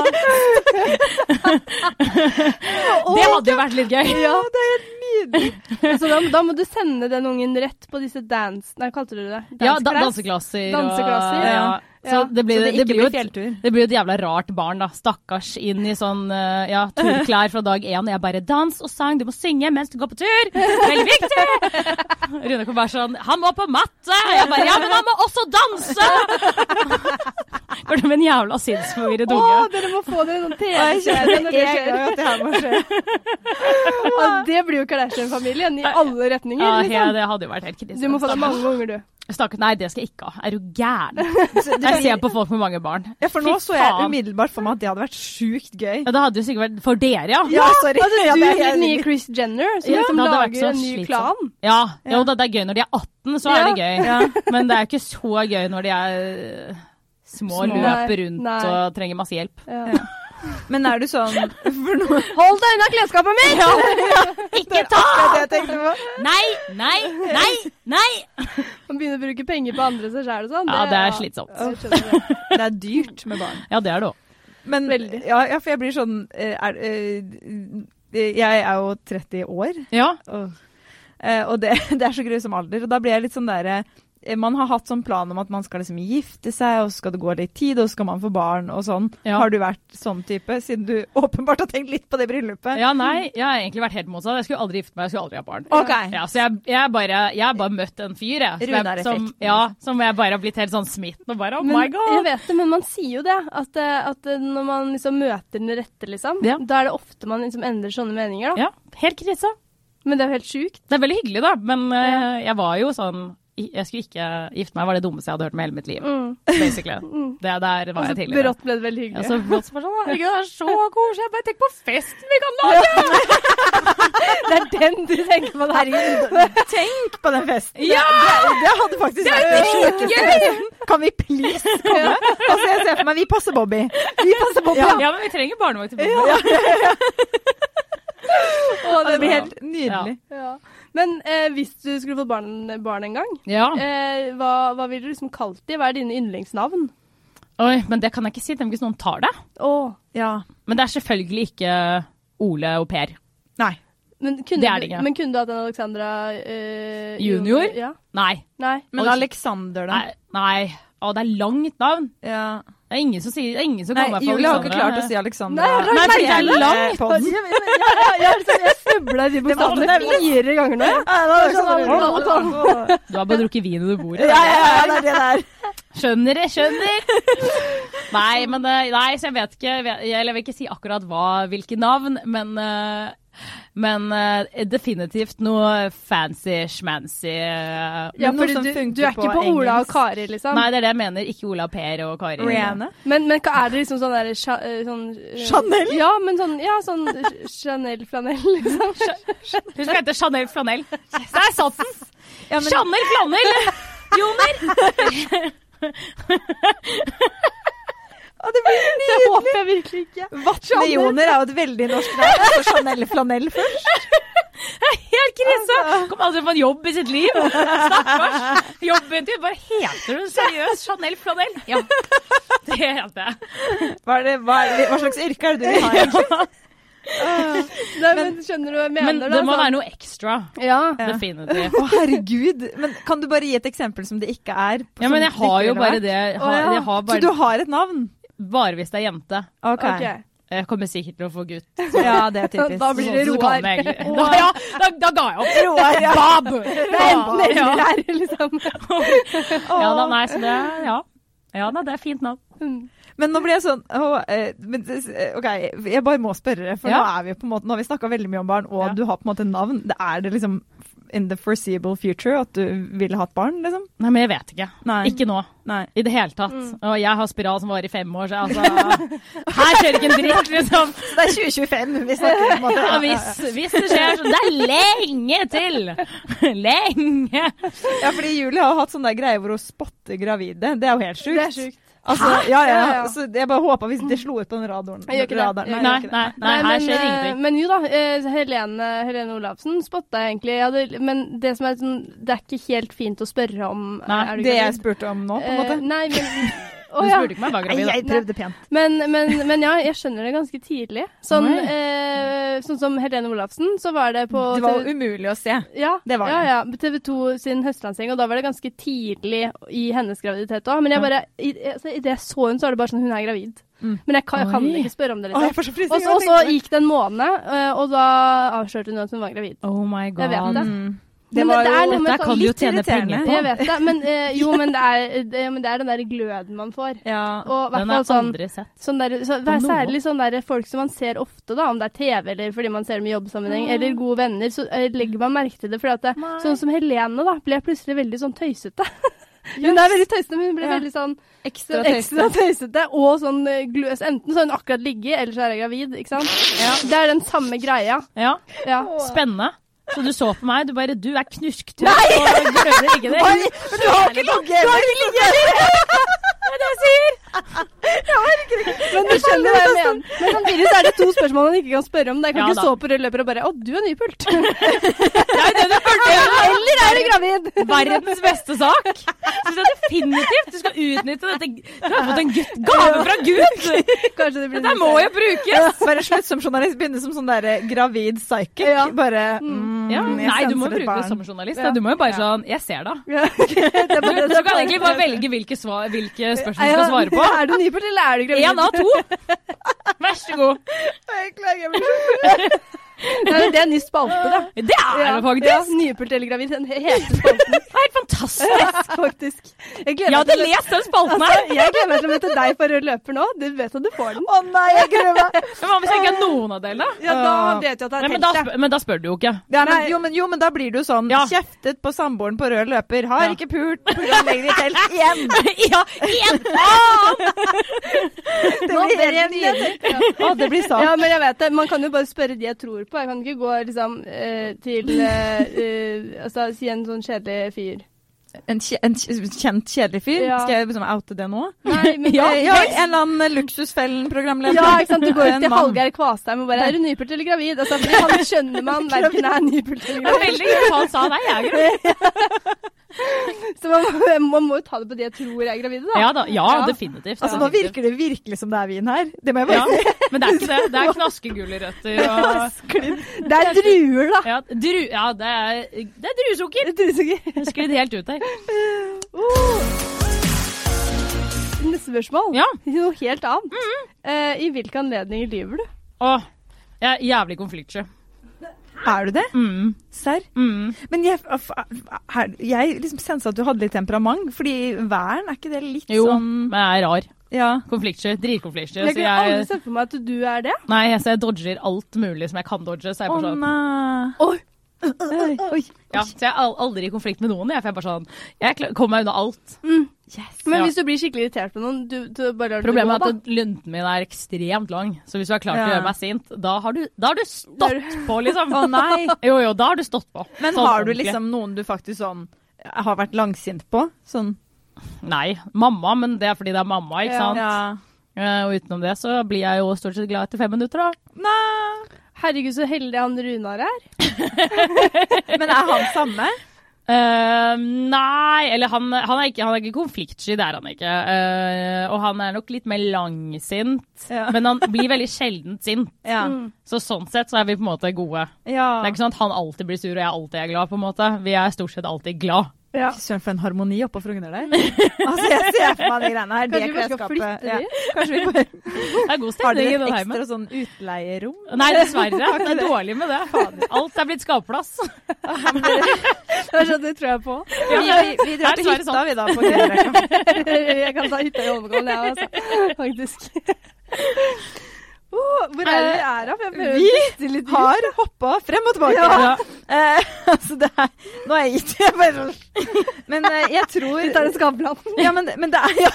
Speaker 3: [LAUGHS] det hadde jo vært litt gøy.
Speaker 1: ja, det er helt nydelig.
Speaker 2: Så da, da må du sende den ungen rett på disse dance... Nei, kalte du det?
Speaker 3: Ja, da,
Speaker 2: Danseclass?
Speaker 3: danseklasser.
Speaker 2: Danseklasser,
Speaker 3: og,
Speaker 1: ja.
Speaker 3: ja. Så
Speaker 2: Ja.
Speaker 3: det blir,
Speaker 1: Så det
Speaker 3: det
Speaker 1: ikke
Speaker 3: blir jo
Speaker 1: blir
Speaker 3: et,
Speaker 1: fjelltur.
Speaker 3: det blir jo et jævla rart barn, da. Stakkars inn i sånn eh, ja, turklær fra dag én. Og jeg bare 'Dans og sang, du må synge mens du går på tur'. Veldig viktig! [LAUGHS] Rune kom bare sånn 'Han må på matte'. Og jeg bare 'Ja, men han må også danse'! [LAUGHS] Går det med en jævla sinnsforvirret
Speaker 2: Å,
Speaker 3: unge.
Speaker 2: dere må få
Speaker 1: [LAUGHS]
Speaker 2: dere noen
Speaker 1: Og jeg
Speaker 2: TV-seere
Speaker 1: kjenner
Speaker 2: når
Speaker 1: det
Speaker 2: det
Speaker 1: en gang
Speaker 2: skjer.
Speaker 1: at det her må skje.
Speaker 2: Ja, det blir jo Kardashian-familien i alle retninger.
Speaker 3: Ja, he-
Speaker 2: liksom.
Speaker 3: det hadde jo vært helt krise.
Speaker 2: Du må få deg
Speaker 3: Stakkars.
Speaker 2: mange unger, du.
Speaker 3: Stakkars, nei, det skal jeg ikke ha. Er du [LAUGHS] gæren? Jeg ser på folk med mange barn.
Speaker 1: Ja, for nå
Speaker 3: Fy
Speaker 1: så jeg
Speaker 3: faen.
Speaker 1: umiddelbart for meg at det hadde vært sjukt gøy.
Speaker 3: Ja, det hadde jo sikkert vært for dere, ja.
Speaker 1: Ja, sorry.
Speaker 2: Hadde
Speaker 1: Ja, det er
Speaker 2: du blitt
Speaker 1: helt
Speaker 2: nye
Speaker 1: enig.
Speaker 2: Chris Jenner, som
Speaker 3: Ja.
Speaker 2: liksom
Speaker 3: Det hadde vært
Speaker 2: lager
Speaker 3: så
Speaker 2: en ny
Speaker 3: slitsomt.
Speaker 2: klan?
Speaker 3: Ja, jo da, det er gøy når de er 18, så er det gøy. Men det er ikke så gøy når de er eh,
Speaker 2: Små.
Speaker 3: små, løper
Speaker 2: Nei,
Speaker 3: rundt
Speaker 2: nei.
Speaker 3: og trenger masse hjelp.
Speaker 2: Ja.
Speaker 1: Men er du [LAUGHS] sånn For nå
Speaker 2: Hold deg unna klesskapet mitt!
Speaker 3: Ikke ta!
Speaker 1: er det jeg tenkte på.
Speaker 3: Nei, nei, nei, nei!
Speaker 2: Man begynner å bruke penger på andre seg sjæl og sånn.
Speaker 3: Ja, det er slitsomt.
Speaker 2: Ja, jeg skjønner det.
Speaker 1: Det er dyrt med barn.
Speaker 3: Ja, det er det òg.
Speaker 1: Men
Speaker 2: Veldig.
Speaker 1: ja, ja, for jeg blir sånn eh, er, eh, Jeg er jo 30 år,
Speaker 3: Ja.
Speaker 1: og, eh, og det, [LAUGHS] det er så grusom alder. Og da blir jeg litt sånn derre eh, Man har hatt sånn plan om at man skal liksom gifte seg, og så skal det gå litt tid, og så skal man få barn og sånn.
Speaker 3: Ja.
Speaker 1: Har du vært sånn type, siden du [LAUGHS] åpenbart har tenkt litt på det bryllupet?
Speaker 3: ja, nei, jeg har egentlig vært helt motsatt. Jeg skulle aldri gifte meg, jeg skulle aldri ha barn.
Speaker 1: OK.
Speaker 3: Ja, så jeg, jeg, bare, jeg har bare møtt en fyr, jeg. Som,
Speaker 1: Runar
Speaker 3: jeg,
Speaker 1: er
Speaker 3: som,
Speaker 1: frekt.
Speaker 3: ja, som jeg bare har blitt helt sånn smitten og bare [LAUGHS] oh my
Speaker 2: Men, jeg
Speaker 3: god.
Speaker 2: vet det, men man sier jo det. At, eh, at eh, når man liksom møter den rette, liksom,
Speaker 3: Ja.
Speaker 2: da er det ofte man liksom endrer sånne meninger. Da.
Speaker 3: Ja, helt krise.
Speaker 2: Men det er jo helt sjukt.
Speaker 3: Det er veldig hyggelig, da, men eh, jeg var jo sånn Jeg skulle ikke gifte meg, var det dummeste jeg hadde hørt med hele mitt liv.
Speaker 2: Mm.
Speaker 3: Basically. Det der
Speaker 2: Og
Speaker 3: var
Speaker 2: så
Speaker 3: jeg tidligere.
Speaker 2: Altså, brått ble det veldig hyggelig.
Speaker 3: Ja, så brått som bare sånn, herregud, det er så koselig. Jeg bare tenker på festen
Speaker 2: [LAUGHS]
Speaker 3: vi kan lage!
Speaker 2: det er den du tenker på der.
Speaker 1: Herregud, tenk på den festen!
Speaker 3: Ja!
Speaker 1: Det, det hadde faktisk vært den sjukeste festen. Kan vi please komme? Altså, jeg ser for meg Vi passer Bobby. Vi passer Bobby.
Speaker 3: Ja,
Speaker 1: Ja.
Speaker 3: men vi trenger barnevakt til Bobby.
Speaker 2: Å,
Speaker 1: Det
Speaker 2: det
Speaker 1: blir
Speaker 2: var-
Speaker 1: helt nydelig.
Speaker 2: ja. Men eh, hvis du skulle fått barn, barn en gang,
Speaker 3: Ja.
Speaker 2: eh, hva, hva ville du liksom kalt de? Hva er dine yndlingsnavn?
Speaker 3: Oi, men det kan jeg ikke si, tenk hvis noen tar det.
Speaker 2: Å,
Speaker 1: Ja.
Speaker 3: Men det er selvfølgelig ikke Ole og Per.
Speaker 1: Nei.
Speaker 2: men kunne
Speaker 3: Det er det
Speaker 2: du-
Speaker 3: ikke.
Speaker 2: Men kunne du hatt en Alexandra eh,
Speaker 3: Junior?
Speaker 2: Ja.
Speaker 3: Nei.
Speaker 2: Nei.
Speaker 1: Men
Speaker 3: Oi.
Speaker 1: Alexander, da?
Speaker 3: Nei. Nei. Å, det er langt navn.
Speaker 1: Ja.
Speaker 3: Det er ingen som sier det er ingen som
Speaker 1: Nei,
Speaker 3: kaller meg for
Speaker 1: Julie har ikke klart å
Speaker 3: Alexandra.
Speaker 1: si Alexander.
Speaker 2: Nei, jeg har
Speaker 3: Nei, for det er langt.
Speaker 1: Podden.
Speaker 2: Ja, men- ja, ja, ja, jeg jeg snubla i de bokstavene
Speaker 1: nevnes.
Speaker 2: fire ganger nå.
Speaker 1: Ja, det var sånn-
Speaker 3: Du har bare drukket vin under bordet.
Speaker 1: Ja, ja, ja, det er det der.
Speaker 3: Skjønner jeg, skjønner! nei, men eh, nei, så jeg vet ikke jeg- Eller jeg vil ikke si akkurat hva, hvilke navn, men eh, men eh, definitivt noe fancy-schmancy. eh,
Speaker 2: Ja,
Speaker 1: Men noe
Speaker 2: fordi
Speaker 1: som
Speaker 2: du, du
Speaker 1: funker
Speaker 2: er
Speaker 1: på
Speaker 2: ikke på Ola og
Speaker 1: engelsk.
Speaker 2: Kari, liksom.
Speaker 3: Nei, det er det jeg mener. Ikke Ola, Per og Kari.
Speaker 1: Rihanna.
Speaker 2: Men, men hva er det liksom sånn derre sja- eh, sånn, eh,
Speaker 1: Chanel?
Speaker 2: Ja, men sånn, ja, sånn sj- Chanel-flanell,
Speaker 3: [LAUGHS]
Speaker 2: liksom.
Speaker 3: Hun skal hete Chanel Flanell. Der satt den!
Speaker 1: Ja, men,
Speaker 3: Chanel Flanell! Joner!
Speaker 1: Å, det blir
Speaker 2: Det håper jeg virkelig ikke.
Speaker 1: Vatnejoner er jo et veldig norsk navn. Så Chanel Flanell først.
Speaker 3: Helt krise!
Speaker 1: Altså.
Speaker 3: Kommer aldri på en jobb i sitt liv. Stakkars. Jobbintervju. Bare heter du seriøst Chanel Flanell? Ja, det heter jeg.
Speaker 1: Hva, er det, hva, er det, hva slags yrke er det du vil ha? egentlig?
Speaker 2: [LAUGHS] Nei, men skjønner du hva jeg mener?
Speaker 3: Men det må være noe ekstra.
Speaker 2: noe sånn. Ja.
Speaker 1: Ja.
Speaker 3: Definitivt.
Speaker 1: Å, herregud. Men kan du bare gi et eksempel som det ikke er? på
Speaker 3: Ja,
Speaker 1: som
Speaker 3: men jeg
Speaker 1: det
Speaker 3: har
Speaker 1: ikke
Speaker 3: jo
Speaker 1: ville
Speaker 3: bare
Speaker 1: vært?
Speaker 3: det. Jeg
Speaker 1: Å,
Speaker 3: har,
Speaker 1: ja.
Speaker 3: jeg har
Speaker 1: Så du
Speaker 3: bare,
Speaker 1: har et navn?
Speaker 3: bare hvis det er jente.
Speaker 1: OK.
Speaker 2: OK.
Speaker 3: Jeg kommer sikkert til å få gutt.
Speaker 1: Ja, det er typisk.
Speaker 2: Da blir det
Speaker 3: Sånn som du
Speaker 2: Roar.
Speaker 3: kaller meg egentlig. [LAUGHS] Da, ja, da, da ga jeg opp.
Speaker 1: Roar, ja.
Speaker 3: [LAUGHS] Bob!
Speaker 2: Det er enten
Speaker 3: [LAUGHS] Ja.
Speaker 2: eller her, liksom.
Speaker 3: Ja da, nei, så det er- ja. Ja da, det er fint navn.
Speaker 1: Men nå blir jeg sånn å, eh, men, det- eh, OK, jeg bare må spørre, for nå
Speaker 3: Ja.
Speaker 1: er vi på en måte Nå har vi snakka veldig mye om barn, og
Speaker 3: Ja.
Speaker 1: du har på en måte navn. Det er det liksom in the foreseeable future at du ville hatt barn, liksom?
Speaker 3: Nei, men jeg vet ikke.
Speaker 1: Nei.
Speaker 3: Ikke nå.
Speaker 1: Nei.
Speaker 3: I det hele tatt. Og jeg har spiral som varer i fem år, så jeg, altså Her skjer det ikke en dritt, liksom.
Speaker 1: [LAUGHS] Så det er 2025 vi snakker om.
Speaker 3: Ja,
Speaker 1: at-
Speaker 3: hvis, hvis det skjer, så Det er lenge til! [LAUGHS] Lenge!
Speaker 1: [LAUGHS] Ja, fordi Julie har hatt sånn der greie hvor hun spotter gravide. Det er jo helt sjukt.
Speaker 2: [LAUGHS] Det er sjukt.
Speaker 1: Altså, ja, ja,
Speaker 2: Ja, ja.
Speaker 1: Så jeg bare håpa hvis det slo ut på den radaren.
Speaker 2: Jeg gjør ikke det.
Speaker 1: radaren.
Speaker 2: Jeg gjør
Speaker 3: Nei,
Speaker 1: jeg gjør ikke
Speaker 3: nei, nei, her
Speaker 2: men,
Speaker 3: skjer
Speaker 2: eh,
Speaker 3: ingenting.
Speaker 2: Men jo da, eh, Helene, Helene Olafsen spotta jeg egentlig. Jeg hadde, men det som er sånn, det er ikke helt fint å spørre om eh,
Speaker 3: Nei,
Speaker 2: er du
Speaker 1: Det jeg
Speaker 2: gravid?
Speaker 1: spurte om nå, på en
Speaker 2: Eh,
Speaker 1: måte.
Speaker 2: nei,
Speaker 1: [LAUGHS]
Speaker 2: men,
Speaker 3: Du
Speaker 2: Å, ja.
Speaker 3: spurte ikke om jeg var
Speaker 1: Nei,
Speaker 3: gravid. da.
Speaker 1: jeg prøvde pent.
Speaker 2: men, men, men ja, jeg skjønner det ganske tidlig. Sånn,
Speaker 3: Oi.
Speaker 2: eh, sånn som Helene Olafsen, så var det på
Speaker 1: Det var
Speaker 2: TV
Speaker 1: jo umulig å se.
Speaker 2: ja,
Speaker 1: det var
Speaker 2: ja,
Speaker 1: det.
Speaker 2: ja, TV 2 sin høstlansering, og da var det ganske tidlig i hennes graviditet òg. Men jeg bare, i, altså, i det jeg så hun, så var det bare sånn Hun er gravid.
Speaker 1: Mm.
Speaker 2: Men jeg kan, jeg kan
Speaker 3: Oi.
Speaker 2: ikke spørre om det.
Speaker 1: Å,
Speaker 2: Liksom.
Speaker 1: jeg får så
Speaker 2: Og
Speaker 3: [LAUGHS]
Speaker 1: frysninger.
Speaker 2: så- og
Speaker 1: av å
Speaker 2: så
Speaker 1: tenke på det.
Speaker 2: gikk det en måned, eh, og da avslørte hun at hun var gravid.
Speaker 3: Oh my god.
Speaker 2: vet det.
Speaker 1: Mm.
Speaker 2: Men
Speaker 1: var
Speaker 2: det er
Speaker 1: jo-
Speaker 2: noe med
Speaker 3: Dette
Speaker 2: sånn
Speaker 3: kan du jo
Speaker 1: litt
Speaker 3: tjene
Speaker 1: irriterende.
Speaker 3: penger på.
Speaker 2: Jeg vet det, men
Speaker 3: [LAUGHS]
Speaker 2: eh, jo, men det er, det, men det er den der gløden man får.
Speaker 1: Ja.
Speaker 2: Og i hvert
Speaker 3: Den er
Speaker 2: fall sånn,
Speaker 3: aldri sett.
Speaker 2: sånn der, så, det er
Speaker 3: noe.
Speaker 2: særlig sånn der folk som man ser ofte, da, om det er TV eller fordi man ser dem i jobbsammenheng, eller gode venner, så eh, legger man merke til det. Fordi at det,
Speaker 3: Nei.
Speaker 2: sånn som Helene da, ble plutselig veldig sånn tøysete. [LAUGHS] Hun er veldig tøysete, men hun ble
Speaker 1: Ja.
Speaker 2: veldig sånn
Speaker 1: Ekstra
Speaker 2: ekstra tøysete. Og sånn eh, glu- så Enten så har hun akkurat ligget, eller så er hun gravid. Ikke sant? Det er den samme greia.
Speaker 3: Ja,
Speaker 2: Ja.
Speaker 3: spennende. Så du så på meg, du bare Du er knusktørr og gløder ikke det.
Speaker 1: Du har ikke ligget
Speaker 2: Men du skjønner hva jeg mener. Men samtidig så er det to spørsmål man ikke kan spørre om. Jeg kan
Speaker 3: Ja da.
Speaker 2: ikke stå på rød løper og bare 'Å, du er nypult'.
Speaker 3: Eller
Speaker 2: Er du gravid?
Speaker 3: Verdens beste sak. Syns jeg definitivt du skal utnytte dette. Du har fått en gutt, gave fra Gud!
Speaker 2: [LAUGHS] Kanskje det blir
Speaker 3: Dette må jo brukes!
Speaker 1: [LAUGHS] Bare slutt som journalist, begynne som sånn der eh, gravid psychic.
Speaker 2: Ja.
Speaker 1: Bare mm,
Speaker 3: Ja,
Speaker 1: jeg
Speaker 3: nei, du må
Speaker 1: senser et
Speaker 3: bruke det
Speaker 1: barn.
Speaker 3: som journalist.
Speaker 2: Ja.
Speaker 3: Du må jo bare sånn Jeg ser det.
Speaker 2: Ja. Det er
Speaker 3: Du,
Speaker 2: bare det
Speaker 3: du
Speaker 2: som
Speaker 3: kan
Speaker 2: er
Speaker 3: egentlig bare velge hvilke, svar, hvilke spørsmål du
Speaker 2: Ja,
Speaker 3: skal svare
Speaker 2: [LAUGHS]
Speaker 3: på.
Speaker 2: Er du nypult, eller er du gravid?
Speaker 3: Én av
Speaker 2: [LAUGHS]
Speaker 3: to. Vær så god.
Speaker 1: Jeg klager, jeg blir så-
Speaker 2: Nei, men det er en ny spalte, da.
Speaker 3: Det er det
Speaker 2: Ja,
Speaker 3: faktisk.
Speaker 2: nypult eller gravid. Den he- heter
Speaker 3: [LAUGHS]
Speaker 2: spalten,
Speaker 3: Det er helt fantastisk.
Speaker 2: faktisk. Jeg gleder, meg,
Speaker 3: Jeg hadde
Speaker 2: til å,
Speaker 3: lest den spalten her.
Speaker 2: møte- jeg gleder meg til å møte deg på rød løper nå. Du vet at du får den.
Speaker 1: Å nei, jeg gruer meg.
Speaker 3: [LAUGHS] Altså, Men hva hvis jeg ikke er noen av delene?
Speaker 2: Ja, da vet jeg at det
Speaker 3: Nei,
Speaker 2: er
Speaker 3: men, da,
Speaker 2: telt.
Speaker 3: spør- men da spør du jo ikke.
Speaker 1: Ja, men, jo, men, jo, men da blir du sånn
Speaker 3: Ja.
Speaker 1: kjeftet på samboeren på rød løper. Har
Speaker 3: Ja.
Speaker 1: ikke pult, programlegger i telt igjen.
Speaker 3: [LAUGHS] [LAUGHS] Ja, én!
Speaker 1: Det blir helt nydelig. Å, det blir sant.
Speaker 2: Ja, men jeg vet det. Man kan jo bare spørre de jeg tror på. Jeg kan ikke gå liksom eh, til eh, eh, Altså si en sånn kjedelig fyr.
Speaker 1: En, kje- en kje- kjent kjedelig fyr.
Speaker 2: Ja.
Speaker 1: Skal jeg liksom oute det nå?
Speaker 2: Nei, [LAUGHS] men
Speaker 1: Ja,
Speaker 2: bare-
Speaker 1: ja en eller annen luksusfellen-programleder.
Speaker 2: Ja, ikke sant. Du går
Speaker 1: En
Speaker 2: ut Eh, til
Speaker 1: mann.
Speaker 2: Hallgeir Kvastheim og bare 'Er du nypult eller gravid?' Altså, fordi han skjønner man verken er nypult eller
Speaker 3: Det var
Speaker 2: gravid.
Speaker 3: veldig gøy at han sa nei, jeg er gravid.
Speaker 2: Så man, må- man må jo ta det på de jeg tror er gravide, da.
Speaker 3: Ja da. Ja,
Speaker 2: Ja.
Speaker 3: definitivt.
Speaker 1: Altså, nå virker det virkelig som det er vin her. Det må jeg
Speaker 3: Ja,
Speaker 1: bare si.
Speaker 3: men det er ikke det. Det er [LAUGHS] knaskegulrøtter og
Speaker 2: Det er druer, da.
Speaker 3: Ja, dru, ja det, er, det er druesukker.
Speaker 2: Druesukker.
Speaker 3: Jeg Sklidd helt ut her.
Speaker 2: [LAUGHS] Neste spørsmål.
Speaker 3: Ja.
Speaker 2: [LAUGHS] Noe helt annet. Eh, I hvilke anledninger lyver du?
Speaker 3: Å, jeg er jævlig konfliktsky.
Speaker 1: Er du det?
Speaker 3: Mm,
Speaker 1: Serr?
Speaker 3: mm.
Speaker 1: Men jeg, f- her, jeg liksom sensa at du hadde litt temperament, fordi væren er ikke det litt
Speaker 3: Jo,
Speaker 1: sånn
Speaker 3: men jeg er rar.
Speaker 1: Ja.
Speaker 3: Konfliktsky. Dritkonfliktsky.
Speaker 2: Jeg
Speaker 3: Så
Speaker 2: kunne aldri
Speaker 3: jeg,
Speaker 2: sett for meg at du er det.
Speaker 3: nei, så jeg dodger alt mulig som jeg kan dodge. Så jeg,
Speaker 1: Å
Speaker 3: bare sånn,
Speaker 1: nei.
Speaker 2: Oi.
Speaker 1: Oi. Oi.
Speaker 3: ja, så jeg er al- aldri i konflikt med noen. Jeg, for jeg, er bare sånn, jeg kla- kommer meg unna alt.
Speaker 2: Men
Speaker 3: Ja.
Speaker 2: hvis du blir skikkelig irritert på noen, du, du bare lar det gå,
Speaker 3: Problemet
Speaker 2: da.
Speaker 3: er at lunten min er ekstremt lang, så hvis du er klar til
Speaker 1: Ja.
Speaker 3: å gjøre meg sint, da har du, da har du
Speaker 2: Da er
Speaker 3: stått på, liksom.
Speaker 1: [LAUGHS]
Speaker 3: [LAUGHS]
Speaker 1: Å nei.
Speaker 3: Jo, jo, da har du stått på.
Speaker 1: Men
Speaker 3: Sånn
Speaker 1: har du
Speaker 3: ordentlig.
Speaker 1: liksom noen du faktisk sånn har vært langsint på? Sånn.
Speaker 3: Nei. Mamma, men det er fordi det er mamma, ikke
Speaker 2: Ja.
Speaker 3: sant? Eh, Og utenom det så blir jeg jo stort sett glad etter fem minutter, da.
Speaker 1: Nei.
Speaker 2: Herregud, så heldig han Runar er.
Speaker 1: Men er han samme?
Speaker 3: Eh, nei, eller han, han, er ikke, han er ikke konfliktsky, det er han ikke. Eh, og han er nok litt mer langsint,
Speaker 1: Ja.
Speaker 3: men han blir veldig sjeldent sint.
Speaker 1: Ja.
Speaker 2: Mm.
Speaker 3: Så sånn sett så er vi på en måte gode.
Speaker 1: ja.
Speaker 3: Det er ikke sånn at han alltid blir sur og jeg alltid er glad, på en måte. Vi er stort sett alltid glad.
Speaker 2: Ja.
Speaker 1: Fy Søren, for en harmoni oppå Frogner
Speaker 2: [LAUGHS]
Speaker 1: der. Altså, Jeg ser for meg de greiene her. Det
Speaker 2: Kanskje vi bare skal
Speaker 1: klesskapet.
Speaker 2: flytte de?
Speaker 1: Kanskje vi bare
Speaker 3: Det er god
Speaker 1: Har
Speaker 3: stemning i
Speaker 1: dere
Speaker 3: den
Speaker 1: et
Speaker 3: heimen.
Speaker 1: ekstra sånn utleierom?
Speaker 3: Nei, dessverre. Det er dårlig med det. Fader. Alt er blitt skapplass.
Speaker 2: Det, er sånn, det tror jeg på. [LAUGHS]
Speaker 1: Vi, vi, vi drar
Speaker 3: Her
Speaker 1: til
Speaker 3: så er det
Speaker 2: sånn.
Speaker 1: hytta, vi da. På Grünerløkka.
Speaker 2: Jeg kan ta hytta i Holmenkollen, jeg, altså. Faktisk. [LAUGHS] Oh, hvor er det vi er, da? For jeg prøver
Speaker 1: Vi
Speaker 2: å puste [LAUGHS] litt ut.
Speaker 1: Har hoppa frem og tilbake.
Speaker 3: Ja.
Speaker 1: Eh, altså, det er Nå er jeg gitt. Jeg bare Men eh, jeg
Speaker 2: Vi tar
Speaker 1: tror
Speaker 2: en
Speaker 1: [LAUGHS]
Speaker 2: Skavlan.
Speaker 1: ja, men, men det er ja,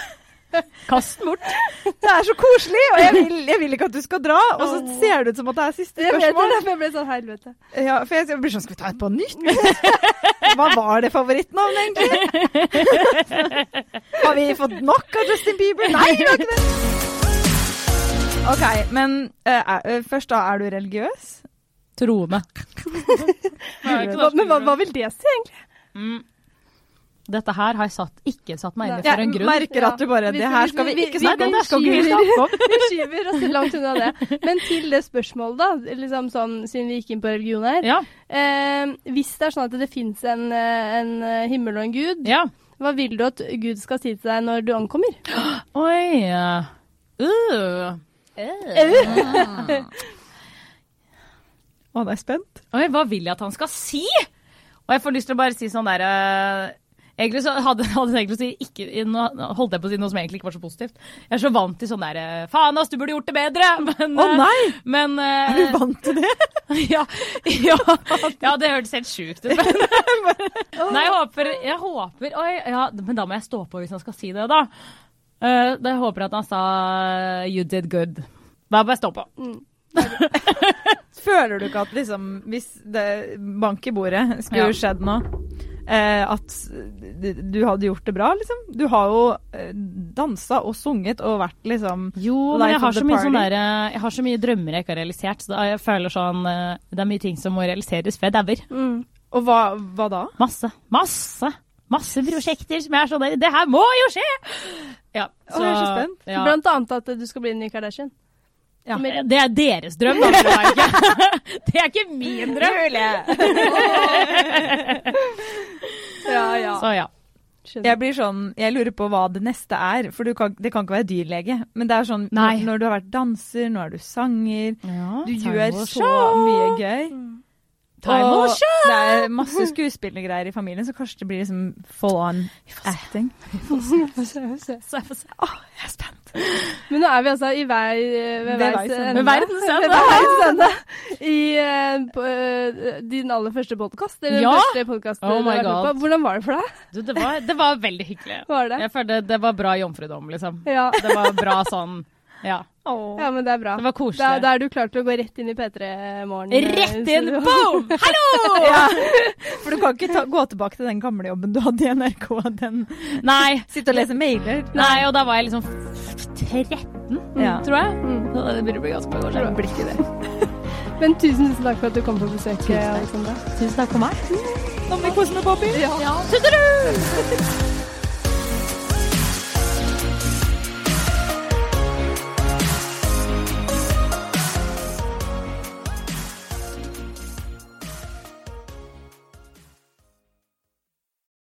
Speaker 3: Kast den bort.
Speaker 1: det er så koselig, og jeg vil, jeg vil ikke at du skal dra. Og så ser det ut som at det er siste
Speaker 2: Jeg vet det,
Speaker 1: spørsmål.
Speaker 2: derfor jeg ble sånn helvete.
Speaker 1: Ja, for jeg blir sånn Skal vi ta et på nytt? [LAUGHS] Hva var det favorittnavnet, egentlig? Har vi fått nok av Justin Bieber? Nei, vi har ikke det. OK, men eh, er- eh, først da, er du religiøs? [LAUGHS]
Speaker 3: Troende.
Speaker 2: Hva, men hva, hva vil det si, egentlig?
Speaker 3: Mm. Dette her har jeg satt, ikke satt meg inn i
Speaker 2: Nei.
Speaker 3: for en grunn.
Speaker 1: merker at du bare
Speaker 2: Ja.
Speaker 1: Det her skal vi ikke snakke om.
Speaker 3: det skal ikke vi
Speaker 2: skyver-
Speaker 3: snakke om.
Speaker 2: Vi skyver oss langt unna det. Men til det spørsmålet, da, liksom sånn, siden vi gikk inn på religion her.
Speaker 3: Ja,
Speaker 2: Eh, hvis det er sånn at det fins en, eh, en eh, himmel og en gud,
Speaker 3: ja.
Speaker 2: hva vil du at Gud skal si til deg når du ankommer?
Speaker 3: Oi. Uh.
Speaker 1: Å, nå er jeg spent.
Speaker 3: Oi, hva vil jeg at han skal si? Og jeg får lyst til å bare si sånn derre Egentlig så hadde, hadde jeg egentlig å si ikke, nå holdt jeg på å si noe som egentlig ikke var så positivt. Jeg er så vant til sånn derre Faen, ass, du burde gjort det bedre! [LAUGHS] Men,
Speaker 1: Å nei!
Speaker 3: eh, men
Speaker 1: Er du
Speaker 3: eh,
Speaker 1: vant til det?
Speaker 3: [LAUGHS] ja, ja, ja, det hørtes helt sjukt ut. Men, [LAUGHS] nei, jeg håper, jeg håper Oi, ja, men da må jeg stå på hvis han skal si det, da. Eh, da jeg håper at han sa eh, 'you did good'. Da må jeg stå på.
Speaker 1: [LAUGHS] Føler du ikke at liksom Hvis det bank i bordet skulle
Speaker 3: Ja.
Speaker 1: skjedd nå, eh, at d- du hadde gjort det bra, liksom? Du har jo eh, dansa og sunget og vært liksom
Speaker 3: Jo,
Speaker 1: Life
Speaker 3: men jeg har,
Speaker 1: of the
Speaker 3: så mye sånn
Speaker 1: party.
Speaker 3: der, eh, jeg har så mye drømmer jeg ikke har realisert, så da jeg føler sånn eh, Det er mye ting som må realiseres før jeg dauer.
Speaker 2: Mm.
Speaker 1: Og hva, hva da?
Speaker 3: Masse. Masse. Masse prosjekter som jeg er sånn der Det her må jo skje! Ja,
Speaker 1: Å, jeg er så spent.
Speaker 3: ja.
Speaker 2: Blant annet at eh, du skal bli en ny Kardashian.
Speaker 1: Ja.
Speaker 2: Familie.
Speaker 3: Det er deres drøm, da. men Det er ikke, [LAUGHS] det er ikke min drøm.
Speaker 2: Ja, ja.
Speaker 3: Så
Speaker 1: Jeg
Speaker 3: ja.
Speaker 2: Skjønner.
Speaker 1: blir sånn, jeg lurer på hva det neste er, for du kan, det kan ikke være dyrlege. Men det er sånn,
Speaker 3: Nei.
Speaker 1: når- når du har vært danser, nå er du sanger, du
Speaker 3: Time
Speaker 1: gjør
Speaker 3: will
Speaker 1: så
Speaker 3: show.
Speaker 1: mye gøy.
Speaker 3: Time will
Speaker 1: Og
Speaker 3: show.
Speaker 1: det er masse skuespillergreier i familien, så kanskje det blir liksom full on acting.
Speaker 3: Så jeg får se.
Speaker 1: Jeg er spent.
Speaker 2: Men nå er vi altså i vei eh, ved
Speaker 1: Ved
Speaker 2: veis
Speaker 1: veis ende.
Speaker 2: ende.
Speaker 3: Med verdens
Speaker 2: Ved
Speaker 3: ende.
Speaker 2: veis ende. I eh, på, eh, din aller første podkast. Eller
Speaker 3: Ja!
Speaker 2: den første podkast
Speaker 3: Oh
Speaker 2: du
Speaker 3: my
Speaker 2: har vært med
Speaker 3: God.
Speaker 2: på. Hvordan var det for deg?
Speaker 3: Du, det, var, det var veldig hyggelig.
Speaker 2: Var det?
Speaker 3: Jeg følte det var bra jomfrudom, liksom.
Speaker 2: Ja.
Speaker 3: Det var bra sånn Ja.
Speaker 2: ja, men det er bra.
Speaker 3: Det var koselig.
Speaker 2: Da, da er du klar til å gå rett inn i eh, P3-morgen.
Speaker 3: Rett inn! Boom! Hallo!
Speaker 1: [LAUGHS] For du kan ikke ta, gå tilbake til den gamle jobben du hadde i NRK, den
Speaker 3: [LAUGHS] Nei.
Speaker 1: sitte og lese mailer.
Speaker 3: Nei, og da var jeg liksom f- 13,
Speaker 1: Ja.
Speaker 3: Mm. tror jeg. Så Det burde bli ganske mange år siden.
Speaker 1: Blir ikke det.
Speaker 2: Men tusen, tusen takk for at du kom på besøk,
Speaker 3: takk.
Speaker 2: Alexandra.
Speaker 3: Tusen takk for meg.
Speaker 1: Nå må vi kose med Bobby.
Speaker 3: Ja. Tusen takk!